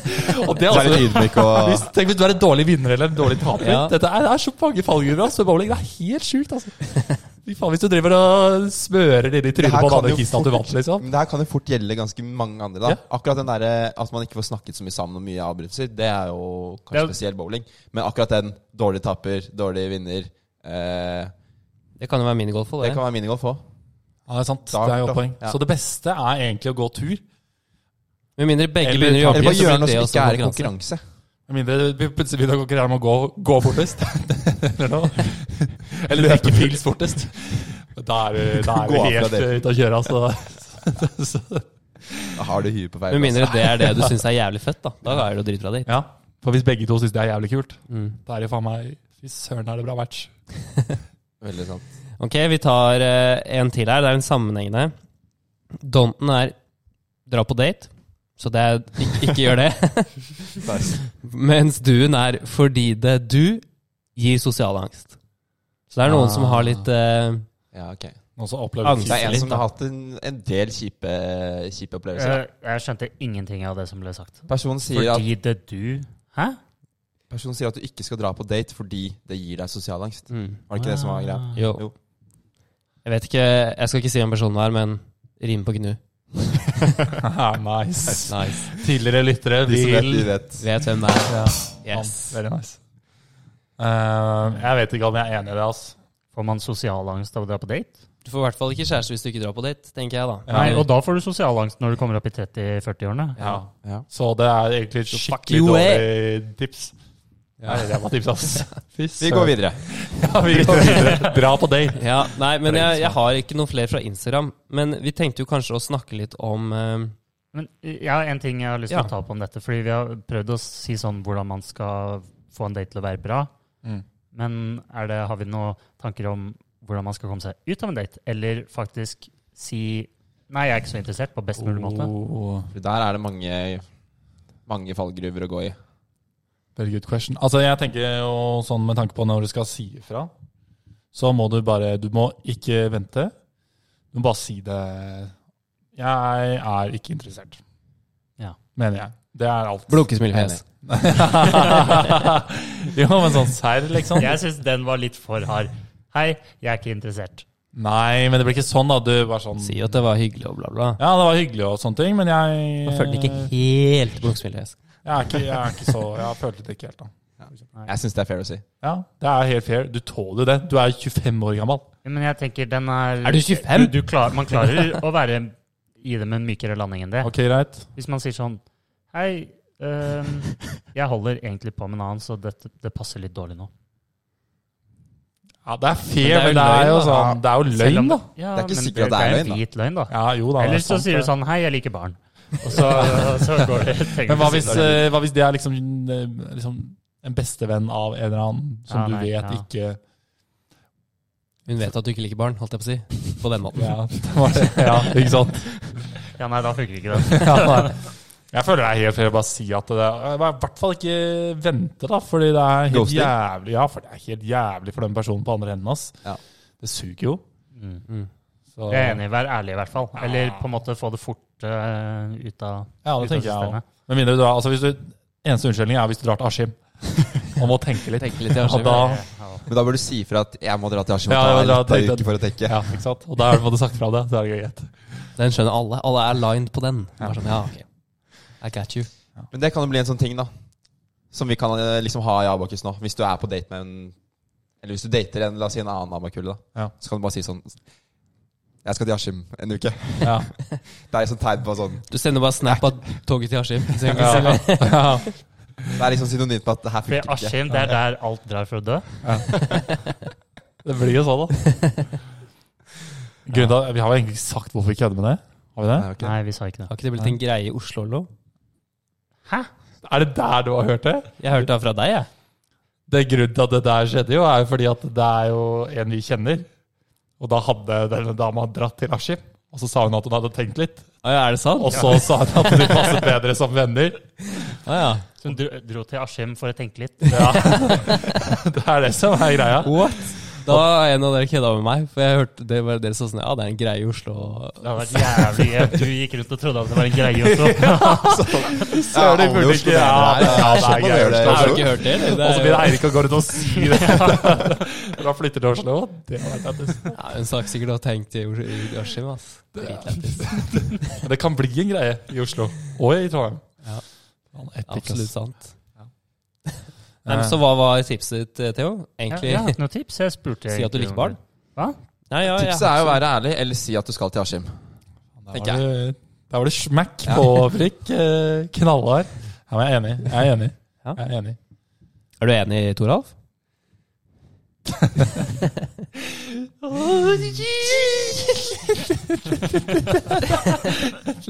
S3: og det er
S2: Være
S3: også,
S2: ydmyk og
S3: altså- hvis, tenk hvis du er en dårlig vinner eller en dalllig taper.
S1: Ja.
S3: Dette er, det er så mange fallgruver altså, med bowling. Det er helt sjukt. altså. Fy faen, hvis du driver og smører det i
S2: Det
S3: trynet
S2: her
S3: på den
S2: kan
S3: andre
S2: jo
S3: kisten at du
S2: fort-
S3: vant, liksom.
S2: Men det her kan jo fort gjelde ganske mange andre. da
S3: Ja.
S2: Akkurat den der, At man ikke får snakket så mye sammen og mye avbrytelser, det er jo kanskje
S4: Ja.
S2: spesiell bowling. Men akkurat den dårlig taper, dårlig vinner eh,
S1: Det kan jo være minigolf òg,
S2: Det
S1: det.
S2: kan være minigolf òg.
S3: Ja, det er sant.
S2: Da-
S3: Det er jo
S2: da-
S3: et poeng.
S2: ja.
S3: Så det beste er egentlig å gå tur.
S1: Med mindre begge
S3: Eller-
S1: begynner å
S2: Eller
S1: jobbe,
S2: bare
S1: så
S2: gjøre
S1: blir
S2: noe
S1: det
S2: som
S1: også
S2: ikke er
S1: en
S2: i
S1: konkurranse.
S2: konkurranse.
S3: Med mindre vi plutselig begynner å konkurrere om å gå, gå fortest. Eller noe. Eller leke pils fortest. Da er du- da er
S2: Gå
S3: du
S2: av fra
S3: helt
S2: det.
S3: ute å kjøre, altså. Så,
S2: Da har du huet på
S1: Med
S2: feil plass.
S1: mindre det er det du syns er jævlig fett, da. Da er det jo dritbra date.
S3: ja, for hvis begge to syns det er jævlig kult,
S1: Mm.
S3: da er det jo faen meg Fy søren, er det bra match.
S2: Veldig sant.
S1: Ok, vi tar eh, en til her. Det er en sammenhengende. Donten er dra på date, så det er ikke, ikke gjør det. Mens duen er fordi det du gir sosial angst. Så det er noen som har litt eh,
S2: Ja, ok
S3: Noen som opplever
S1: Angst.
S2: Det er en
S1: Litt,
S2: som
S1: da.
S2: har hatt en, en del kjipe, kjipe opplevelser.
S4: Jeg, Eh, jeg skjønte ingenting av det som ble sagt.
S2: Da. Personen, sier at,
S4: Fordi det du Hæ?
S2: personen sier at du ikke skal dra på date fordi det gir deg sosial angst.
S1: mm,
S2: Var det ikke det som var greia?
S1: Jo.
S2: Jo.
S1: Jeg vet ikke Jeg skal ikke si hvem personen er, men rimer på gnu.
S3: nice.
S1: Nice.
S3: Tidligere lyttere
S2: De som vet, de
S3: vil
S2: vet.
S1: Vet hvem det er.
S3: ja,
S1: Yes.
S3: Veldig nice. Eh, jeg vet ikke om jeg er enig i det, altså.
S4: Får man sosial angst av å dra på date?
S1: Du får i hvert fall ikke kjæreste hvis du ikke drar på date, tenker jeg da.
S3: Ja.
S4: Nei, og da får du sosial angst når du kommer opp i 30-40-årene.
S3: Ja.
S2: Ja.
S3: Så det er egentlig et
S1: fuck
S3: skikkelig
S1: you,
S3: dårlig tips. Ja, det var tips, ass.
S2: Vi går videre.
S3: Ja, vi går videre. Dra på date.
S1: Ja, nei, men jeg, jeg har ikke noen flere fra Instagram. Men vi tenkte jo kanskje å snakke litt om eh,
S4: Men jeg har en ting jeg har lyst til
S1: Ja.
S4: å ta opp om dette. Fordi vi har prøvd å si sånn hvordan man skal få en date til å være bra.
S3: Mm.
S4: Men er det, har vi noen tanker om hvordan man skal komme seg ut av en date? Eller faktisk si Nei, jeg er ikke så interessert, på best mulig måte.
S3: Oh,
S2: For Der er det mange, mange fallgruver å gå i.
S3: very good question. Altså, jeg tenker jo sånn med tanke på når du skal si ifra, så må du bare Du må ikke vente. Du må bare si det Jeg er ikke interessert.
S4: Ja.
S3: Mener jeg. Det er alt.
S1: Blunkesmilefjes.
S3: jo, men sånn serr, liksom.
S4: Jeg syns den var litt for hard. Hei, jeg er ikke interessert.
S3: Nei, men det blir ikke sånn, da. Du bare sånn
S1: Sier jo at det var hyggelig og bla, bla.
S3: Ja, det var hyggelig og sånne ting, men jeg
S1: Jeg følte ikke helt blunkesmilefjes.
S3: Jeg er ikke, jeg er ikke så Jeg følte det ikke helt, da.
S2: Jeg syns det er fair å si.
S3: Ja, Det er helt fair. Du tåler det. Du er 25 år gammel.
S4: Men jeg tenker den er
S1: Er du 25?
S4: Du, du klar, man klarer å være i det med en mykere landing enn det.
S3: Ok, greit.
S4: Hvis man sier sånn Hei, øhm, jeg holder egentlig på med en annen, så dette, det passer litt dårlig nå.
S3: Ja, Det er fair, men
S1: Men det
S3: det
S1: er
S3: er
S1: jo
S3: jo
S1: løgn, da.
S3: sånn Det er jo
S4: Selv om
S3: løgn, da.
S2: Det
S4: Ja,
S2: er ikke
S4: men
S2: sikkert at det er
S4: en
S2: løgn, da.
S4: hvit løgn, da.
S3: Ja, jo da. det er
S4: Eller så
S3: sant,
S4: sier du
S3: det.
S4: sånn Hei, jeg liker barn. Og så, så går det tenker
S3: Men hva
S4: du
S3: hvis,
S4: sikkert-
S3: eh, hva hvis det er liksom, eh, liksom en bestevenn av en eller annen som
S4: Ja,
S3: du
S4: nei,
S3: vet
S4: ja.
S3: ikke
S1: Hun vet at du ikke liker barn, holdt jeg på å si. På den måten.
S3: ja, det var det. ja, ikke sant?
S4: Ja, nei, da funker ikke det.
S3: Ja, nei. jeg føler det er helt fair å bare si at det er I hvert fall ikke vente, da, fordi det er helt
S2: Ghosting.
S3: jævlig Ja, for det er helt jævlig for den personen på andre enden. ass.
S2: Ja.
S3: Det suger jo.
S4: Mm.
S3: Så,
S4: Jeg er enig. Vær ærlig, i hvert fall. Eller på en måte få det fort øh, ut av
S3: Ja,
S4: ut av
S3: det tenker jeg
S4: systemet.
S3: også. Med mindre du drar altså hvis du, Eneste unnskyldning er hvis du drar til Askim og må tenke litt.
S1: Tenker litt i
S3: Og
S1: Askim.
S4: Ja.
S3: da,
S2: Men da bør du si ifra at 'jeg må dra til Askim og
S3: Ja,
S2: ta
S3: jeg må dra
S2: litt av
S3: til-
S2: uke for å tenke'.
S3: ja, ikke sant? Og da er det på det sagt fra det. Så er det greit.
S1: Den skjønner alle. Alle er lined på den. Bare sånn, ja, ok. I got you.
S2: Men det kan jo bli en sånn ting, da. Som vi kan eh, liksom ha i Abakus nå. Hvis du er på date med en Eller hvis du dater en, la oss si en annen Abakule, da.
S3: Ja.
S2: Så kan du bare si sånn 'Jeg skal til Askim en uke'.
S3: Ja.
S2: Det er liksom tegn på sånn
S1: Du sender bare snap av toget til Askim. Så jeg kan si
S3: Ja.
S1: det.
S3: Ja.
S2: Det er liksom synonymt på at det her
S4: Fordi
S2: funker ikke.
S4: Askim, det er der alt drar for å dø.
S3: Det blir jo sånn, da. Grunnen til at, vi har jo egentlig ikke sagt hvorfor vi kødder med det. Har vi det?
S2: Nei, ok.
S4: Nei, vi sa ikke det.
S1: Har ikke det blitt en greie i Oslo eller noe?
S4: Hæ?
S3: Er det der du har hørt det?
S1: Jeg hørte det fra deg, jeg.
S3: Det grunnen til at det der skjedde, jo, er jo fordi at det er jo en vi kjenner. Og da hadde denne dama dratt til Askim, og så sa hun at hun hadde tenkt litt.
S1: Å, ja, er det sant?
S3: Og så sa hun at de passet bedre som venner.
S1: Å, ja.
S4: Så hun dro, dro til Askim for å tenke litt.
S3: Ja. Det er det som er greia.
S1: What? Da har en av dere kødda med meg, for jeg hørte det var dere sa sånn Ja, det er en greie i Oslo.
S4: Det hadde vært jævlig gøy om du gikk rundt og trodde at det var en greie også.
S2: Ja, alle i Oslo mener det her.
S3: Ja, det er
S2: Sånn må
S3: gøy.
S2: vi gjøre det i
S1: Da har
S2: Oslo.
S1: du ikke hørt det, eller?
S3: Og
S1: Det
S3: så
S1: er
S3: begynner
S1: jo
S3: Eirik å gå rundt og si det. Når han flytter til Oslo. Det, hadde vært lættis.
S1: ja, hun sa sikkert å ha tenkt i Os- i Askim, ass. Dritlættis.
S3: Men det kan bli en greie i Oslo. Og i Trondheim.
S1: Ja.
S3: Faen, epic, ass.
S1: Absolutt sant.
S3: Ja.
S1: Nei, men så hva var tipset ditt, eh, Theo?
S4: Jeg
S1: Egentlig
S4: jeg har ikke noe tips. Jeg spurte
S1: si at du
S4: egentlig
S1: liker
S4: om-
S1: barn?
S4: Hva?
S1: Nei, ja, jeg-
S2: Tipset er jo å være ærlig, eller si at du skal til Askim.
S3: Der
S2: tenker
S3: var det, der var det smekk på prikk. eh, Knallhard. Ja, men jeg er enig. Jeg er enig.
S1: Ja.
S3: Jeg er enig.
S1: Er du enig, Toralf?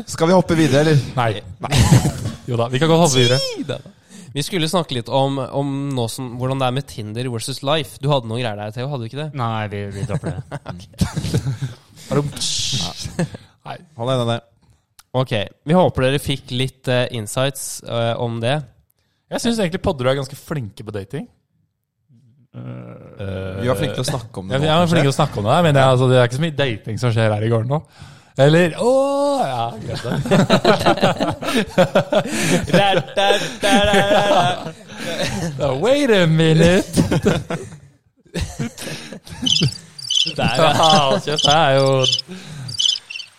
S2: Skal vi hoppe videre, eller?
S3: Nei. Jo da, vi kan godt hoppe videre.
S1: Vi skulle snakke litt om, om nå som, hvordan det er med Tinder versus Life. Du hadde noen greier der, Theo, hadde du ikke det?
S4: Nei, vi, vi dropper det.
S2: Hold deg nede.
S1: Ok, vi håper dere fikk litt eh, insights eh, om det.
S3: Jeg syns egentlig podder er ganske flinke på dating.
S2: Vi var flinke til å snakke om det.
S3: Jeg, jeg Eh, er flink til å snakke om det, der, men jeg, altså, det er ikke så mye dating som skjer her i gården nå. Eller Å! Ja, glem det. Da, Wait a minute!
S1: Der, ja.
S3: Ja, kjeft, det er jo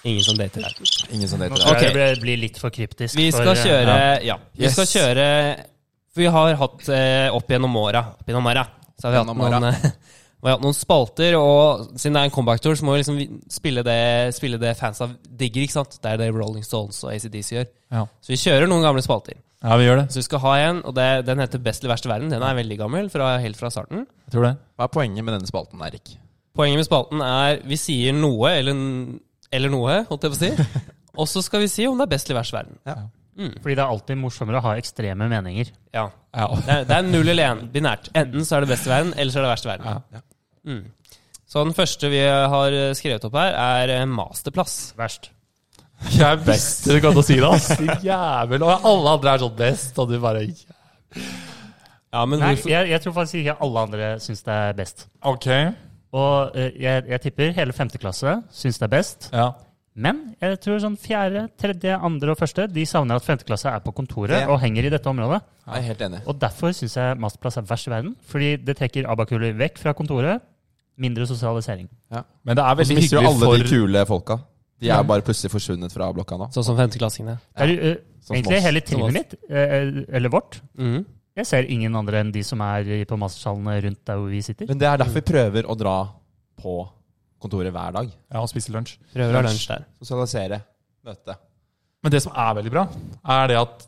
S1: Ingen som dater her.
S2: Ingen som
S4: Nå
S2: dater her.
S4: tror
S1: Ok.
S4: jeg det blir- blir litt for kryptisk.
S1: Vi skal
S4: for, eh,
S1: kjøre Ja. Vi
S2: Yes.
S1: skal kjøre For vi har hatt eh, opp gjennom åra Opp gjennom åra. Så har vi hatt
S2: Gjennom
S1: noen,
S2: åra.
S1: eh, vi har hatt noen spalter, og siden det er en comeback-tour, så må vi liksom vi- spille det, spille det fansa digger, ikke sant? Det er det Rolling Stones og ACDC gjør.
S3: Ja.
S1: Så vi kjører noen gamle spalter.
S3: ja, vi gjør det.
S1: Så vi skal ha en, og det, den heter Best eller verst i verden. Den er veldig gammel, fra, helt fra starten.
S3: Jeg tror det.
S2: Hva er poenget med denne spalten, Eirik?
S1: Poenget med spalten er vi sier noe, eller, n- eller noe, holdt jeg på å si. Og så skal vi si om det er best eller verst i verden.
S4: Fordi det er alltid morsommere å ha ekstreme meninger.
S1: Ja.
S3: Ja.
S1: Det er, det er null eller én. Binært. Enten så er det best i verden, eller så er det verst i verden.
S3: Ja.
S1: Mm. Så den første vi har eh, skrevet opp her, er eh, masterplass.
S4: Verst.
S3: Jeg visste du kom til å si det, ass! Din Jævel. Og alle andre er sånn best, og du bare
S1: Ja, men
S4: Nei,
S1: hvorfor
S4: jeg, jeg tror faktisk ikke alle andre syns det er best.
S3: Ok.
S4: Og eh, jeg, jeg tipper hele femte klasse syns det er best.
S3: Ja.
S4: Men jeg tror sånn fjerde, tredje, andre og første de savner at femte klasse er på kontoret
S2: Det-
S4: og henger i dette området.
S2: Jeg er helt enig.
S4: Og derfor syns jeg masterplass er verst i verden. Fordi det trekker abakuler vekk fra kontoret. Mindre sosialisering.
S3: Men det er
S2: Og så
S3: veldig
S2: mister du
S3: hyggelig
S2: alle de
S3: for
S2: kule folka. De er bare plutselig forsvunnet fra blokka nå.
S1: Sånn som femteklassingene.
S4: Det er, eh,
S2: som
S4: egentlig
S2: oss.
S4: hele
S1: Sånn Som oss.
S4: trinnet mitt, eh, eller vårt,
S1: Mm.
S4: jeg ser ingen andre enn de som er i- på mastersalene rundt der hvor vi sitter.
S2: Men det er derfor vi prøver å dra på kontoret hver dag.
S3: Ja, å spise lunsj.
S1: Prøver å ha lunsj der.
S2: Sosialisere. Møte.
S3: Men det som er veldig bra, er det at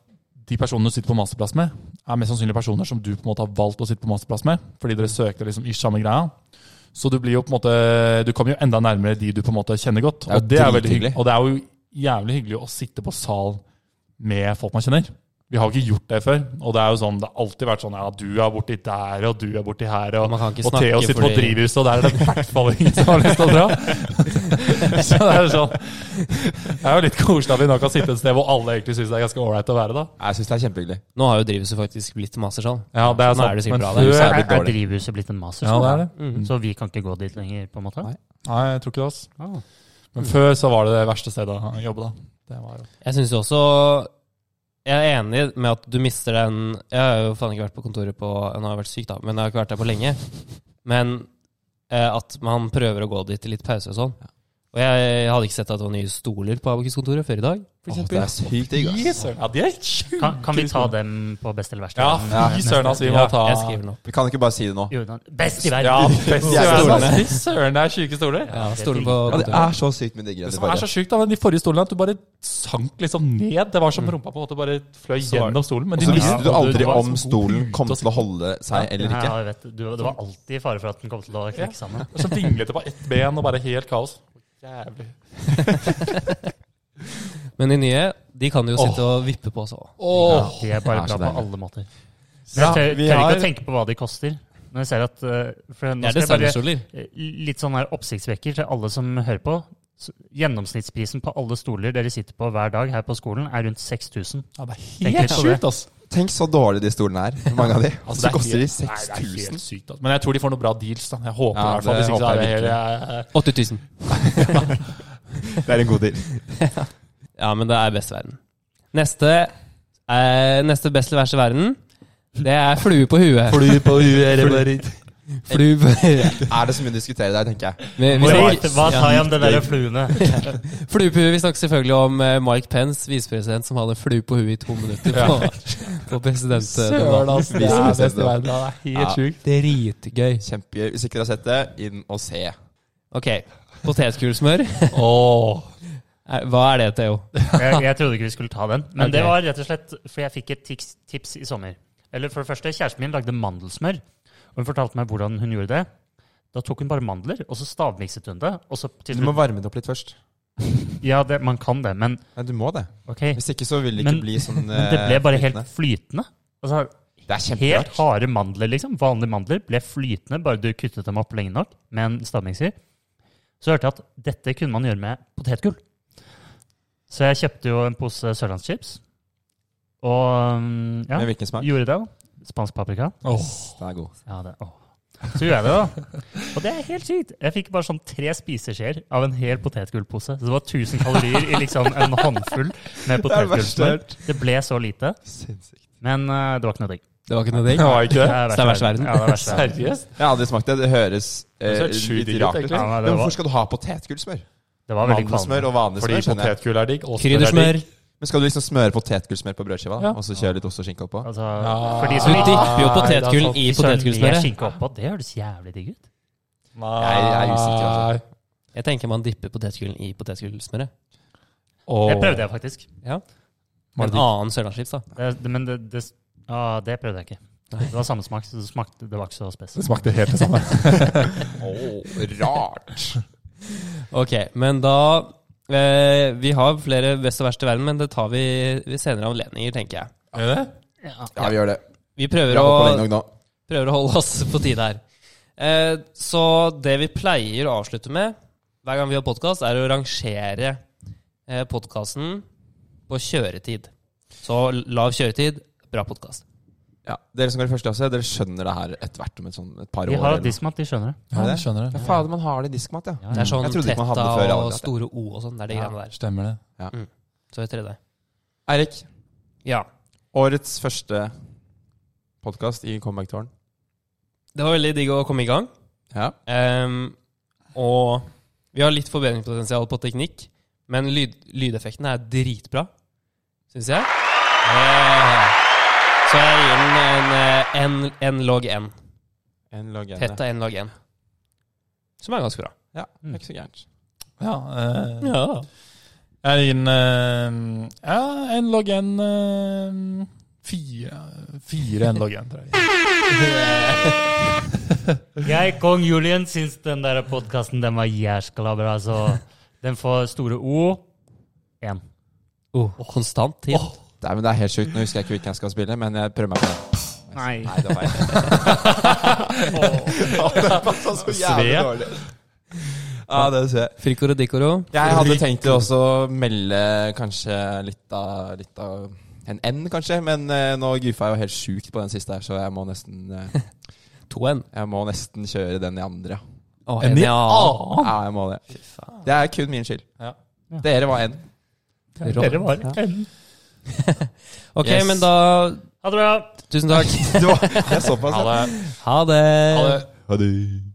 S3: de personene du sitter på masterplass med, er mest sannsynlig personer som du på en måte har valgt å sitte på masterplass med, fordi dere søker liksom i samme greia. Så du blir jo på en måte, du kommer jo enda nærmere de du på en måte kjenner godt.
S2: Det er jo
S3: Og det er, veldig
S2: drithyggelig.
S3: hyggelig. og det er jo jævlig hyggelig å sitte på sal med folk man kjenner. Vi har jo ikke gjort det før, og det er jo sånn, det har alltid vært sånn, ja, du er borti der, og du er borti her, og,
S1: Man kan ikke
S3: og Theo
S1: snakke
S3: sitter på
S1: fordi-
S3: drivhuset, og der er det i hvert fall ingen som har lyst til å dra. Så det er jo sånn, det er jo litt koselig at vi nå kan sitte et sted hvor alle egentlig syns det er ganske ålreit å være, da.
S2: Jeg syns det er kjempehyggelig.
S1: Nå har jo drivhuset faktisk blitt mastersal.
S3: Ja, det
S1: Nå er det sikkert
S3: men
S1: bra, det er
S2: jo
S3: før,
S2: Det
S4: Er,
S2: er
S4: er
S2: dårlig.
S4: drivhuset blitt en
S3: ja,
S4: masterskole?
S3: det er det.
S1: Mm.
S4: Så vi kan ikke gå dit lenger, på en måte?
S2: Nei.
S3: Nei, jeg tror ikke det. ass.
S4: Ah.
S3: Men før så var det det verste stedet å jobbe, da. Det var jo.
S1: Jeg syns også Jeg er enig med at du mister den Jeg har jo faen ikke vært på kontoret på Nå har jeg vært syk, da, men jeg har ikke vært der på lenge. Men eh, at man prøver å gå dit i litt pause og sånn. Og jeg, hadde ikke sett at det var nye stoler på Abakus-kontoret før i dag. For
S2: Åh,
S1: eksempel.
S2: det er sykt digg, ass.
S3: Yes, sir. Ja, de er sjuke!
S4: Kan, kan vi ta dem på best eller verst?
S3: Ja,
S2: Ja.
S3: fy søren, altså. Vi må
S1: Ja,
S3: ta
S1: Jeg skriver den opp.
S2: Vi kan ikke bare si det nå.
S4: Jo, da- Best i
S3: Ja,
S4: verden!
S3: fest i
S2: De er
S3: verden, ass.
S1: stolene.
S3: Fy søren, det er syke stoler.
S1: Ja,
S4: det er
S1: stoler
S4: digg.
S1: på
S2: Ja, det
S1: kontoret.
S2: er så sykt mye diggere enn
S3: Det
S2: de
S3: som er så
S2: forrige.
S3: sjukt da, med de forrige stolene, er at du bare sank liksom ned. Det var som rumpa på en måte bare fløy
S1: var det-
S3: gjennom stolen. Men
S2: Og
S3: de
S2: så
S3: nye
S2: visste du
S3: stolene
S2: aldri
S3: var
S2: om
S3: så
S2: stolen
S3: god
S2: kom
S3: ut og
S2: til å holde seg eller ikke.
S4: Ja, jeg vet, du, det var alltid fare for at den kom til å knekke sammen.
S2: sånn
S3: så vinglete på ett ben og bare helt kaos. Jævlig.
S1: Men de nye, de kan jo sitte og vippe på også.
S4: Ja, de er bare
S2: det er så
S4: bra på
S2: deilig.
S4: alle måter. Men jeg
S3: Ja,
S4: tør,
S3: vi
S4: tør ikke
S3: har-
S4: å tenke på hva de koster. Når jeg ser at eh, for
S1: Det
S4: nå
S1: er
S4: skal jeg bare,
S1: designerstoler.
S4: eh, Litt sånn her oppsiktsvekker til alle som hører på. s- Gjennomsnittsprisen på alle stoler dere sitter på hver dag her på skolen, er rundt 6000.
S3: Ja, det er
S4: Tenk
S3: helt
S4: litt på det.
S3: sjukt, ass.
S2: Tenk så dårlig de stolene er, mange av de.
S3: Altså,
S2: så
S3: det er
S2: koster de
S3: helt- Nei, det er
S2: 6000.
S3: helt sykt, ass. Men jeg tror de får noen bra deals, da. Jeg håper
S2: Ja,
S3: i hvert fall.
S2: det
S3: Hvis ikke så
S2: håper
S3: er det
S2: jeg
S3: helt jeg-
S1: 8000.
S2: Det er en god deal.
S1: Ja, men det er best i verden. Neste, eh, neste beste vers i verden, det er flue på huet.
S2: Fly på huet,
S1: Flue på huet.
S2: Er det så mye å diskutere der, tenker jeg.
S1: Vi, vi
S4: Hva
S1: snakker,
S4: hva sa jeg om det der fluene?
S1: flue på huet, vi snakker selvfølgelig om eh, Mike Pence, visepresident, som hadde flue på huet i to minutter på, på presidentdebatten.
S3: Søren, ass. Det er best i verden. da. Det er helt
S2: Ja.
S3: sjukt.
S1: Dritgøy.
S2: Kjempegøy. Hvis ikke dere har sett det, inn og se.
S1: Ok, potetgullsmør.
S3: Åh.
S1: Eh, Hva er det, Theo?
S4: Jeg, jeg trodde ikke vi skulle ta den. Men det
S1: Ok.
S4: var rett og slett fordi jeg fikk et tips, tips i sommer. Eller for det første, Kjæresten min lagde mandelsmør, og hun fortalte meg hvordan hun gjorde det. Da tok hun bare mandler, og så stavmikset hun det. Og så til
S2: Du må
S4: slutt,
S2: varme det opp litt først.
S4: ja, det, man kan det, men
S2: Nei, du må det.
S4: ok.
S2: Hvis ikke så vil det ikke
S4: Men-
S2: bli sånn
S4: Men det ble
S2: eh,
S4: bare helt
S2: flytende.
S4: flytende. Altså,
S2: Det er
S4: helt
S2: kjemperart.
S4: harde mandler, liksom. Vanlige mandler ble flytende, bare du kuttet dem opp lenge nok med en stavmikser. Så hørte jeg at dette kunne man gjøre med potetgull. Så jeg kjøpte jo en pose sørlandschips. Og mm, ja,
S2: Med hvilken smak?
S4: gjorde det. da. Spansk paprika.
S3: Åh.
S2: Det er god.
S4: Ja, det, åh. Så gjorde jeg det, da. Og det er helt sykt. Jeg fikk bare sånn tre spiseskjeer av en hel potetgullpose. Så det var 1000 kalorier i liksom en håndfull med
S2: Det er verst jeg har
S4: potetgullsmør.
S2: hørt.
S4: Det ble så lite,
S2: Sinnssykt.
S4: men eh, det var ikke noe digg.
S1: Det var ikke noe digg?
S3: Det var ikke det.
S4: verst
S1: Det er
S4: i
S1: verst i verden.
S4: Ja, det er verst i verden.
S3: Seriøst?
S2: Jeg har aldri smakt det. Det høres
S3: Det
S2: eh,
S3: ser helt sjukt
S2: litt
S3: digg ut,
S2: rart ut.
S3: egentlig.
S4: Ja, nei, det
S2: Men
S4: var-
S2: hvorfor skal du ha potetgullsmør?
S4: Det var veldig
S2: Mandelsmør
S4: kvalmende.
S2: og vanlig
S3: Fordi
S2: smør, skjønner jeg.
S3: potetgull er digg. og smør er digg.
S1: Kryddersmør.
S2: Men skal du liksom smøre potetgullsmør på brødskiva, da?
S3: Ja.
S2: og så kjøre litt ost og skinke oppå?
S4: Altså,
S3: Ja.
S4: for de
S1: Du
S4: som ikke
S1: dipper jo
S3: Nei,
S1: potetgull
S3: det er sant.
S1: i
S4: Fy søren, med
S1: potetgullsmøret.
S4: skinke oppå, det høres jævlig digg ut.
S2: Jeg er usikker, altså.
S1: Jeg tenker man dipper potetgullen i potetgullsmøret.
S3: Åh.
S4: Det prøvde jeg faktisk.
S1: Med
S3: Var det
S1: en annen sørlandschips, da.
S4: Det, det, men det, det, ah, det prøvde jeg ikke. Det var samme smak, så det smakte det var ikke så spes.
S3: Det smakte helt det samme.
S2: Åh, rart!
S1: Ok, men da eh, Vi har flere best og verst i verden, men det tar vi ved senere anledninger, tenker jeg.
S3: Er det det?
S4: Ja.
S2: Ja, vi gjør det.
S1: Vi
S2: Vi
S1: prøver
S2: har
S1: å,
S2: holdt på lenge nok nå.
S1: prøver å holde oss på tide her. Eh, så det vi pleier å avslutte med hver gang vi har podkast, er å rangere eh, podkasten på kjøretid. Så lav kjøretid, bra podkast.
S2: Mm. Ja, Dere som går i første klasse, dere skjønner det her etter hvert om et, sånn, et par år.
S4: De har
S2: eller
S4: jo diskmat, de skjønner det.
S2: Ja, det
S3: skjønner
S2: noe. Ja, fader, man har det i diskmat, ja.
S1: Det er sånn
S2: Jeg trodde ikke man hadde
S1: tetta
S2: det før, jeg
S1: og
S2: hadde det.
S1: store O og sånn. Det er de greiene der. Mm.
S3: Stemmer det.
S1: Så vi tredje.
S2: Eirik,
S1: Ja.
S2: årets første podkast i Comeback-tårn.
S1: Det var veldig digg å komme i gang.
S2: Ja.
S1: Ehm, og vi har litt forbedringspotensial på teknikk, men lyd, lydeffektene er dritbra, syns jeg. Eh, så jeg gir den en, eh, en, en log n.
S2: En logg
S1: Tett av en log n. Som er ganske bra.
S2: Ja, det er ikke så gærent.
S3: Ja, eh,
S1: Ja.
S3: Jeg gir den eh, ja, en log n eh, fire, fire en log n, tror jeg.
S4: Jeg, kong Julian, syns den der podkasten den var jæskla bra, så den får store O. Én.
S1: Oh. konstant tid.
S2: Det er, men det er helt sjukt. Nå husker jeg ikke hvilken jeg skal spille, men jeg prøver meg på det.
S4: Nei.
S2: Nei, det var jeg. det passet så jævlig
S3: Sve.
S2: dårlig. Ja, det ser jeg.
S1: Frikoro dikoro.
S2: Jeg hadde tenkt å også melde kanskje litt av, litt av en N, kanskje, men eh, nå goofa jeg jo helt sjukt på den siste her, så jeg må nesten, eh,
S1: 2N.
S2: jeg må nesten kjøre den i andre. ja.
S1: Å,
S3: En i
S1: ja.
S3: annen.
S2: Ja, jeg må det. Det er kun min skyld.
S3: Ja.
S2: Dere var N.
S4: Dere var en.
S1: Ok,
S2: Yes.
S1: men da
S4: Ha det bra.
S1: Tusen takk.
S2: Det var, det er såpass.
S1: Ha det.
S3: Ha det.
S2: Ha det.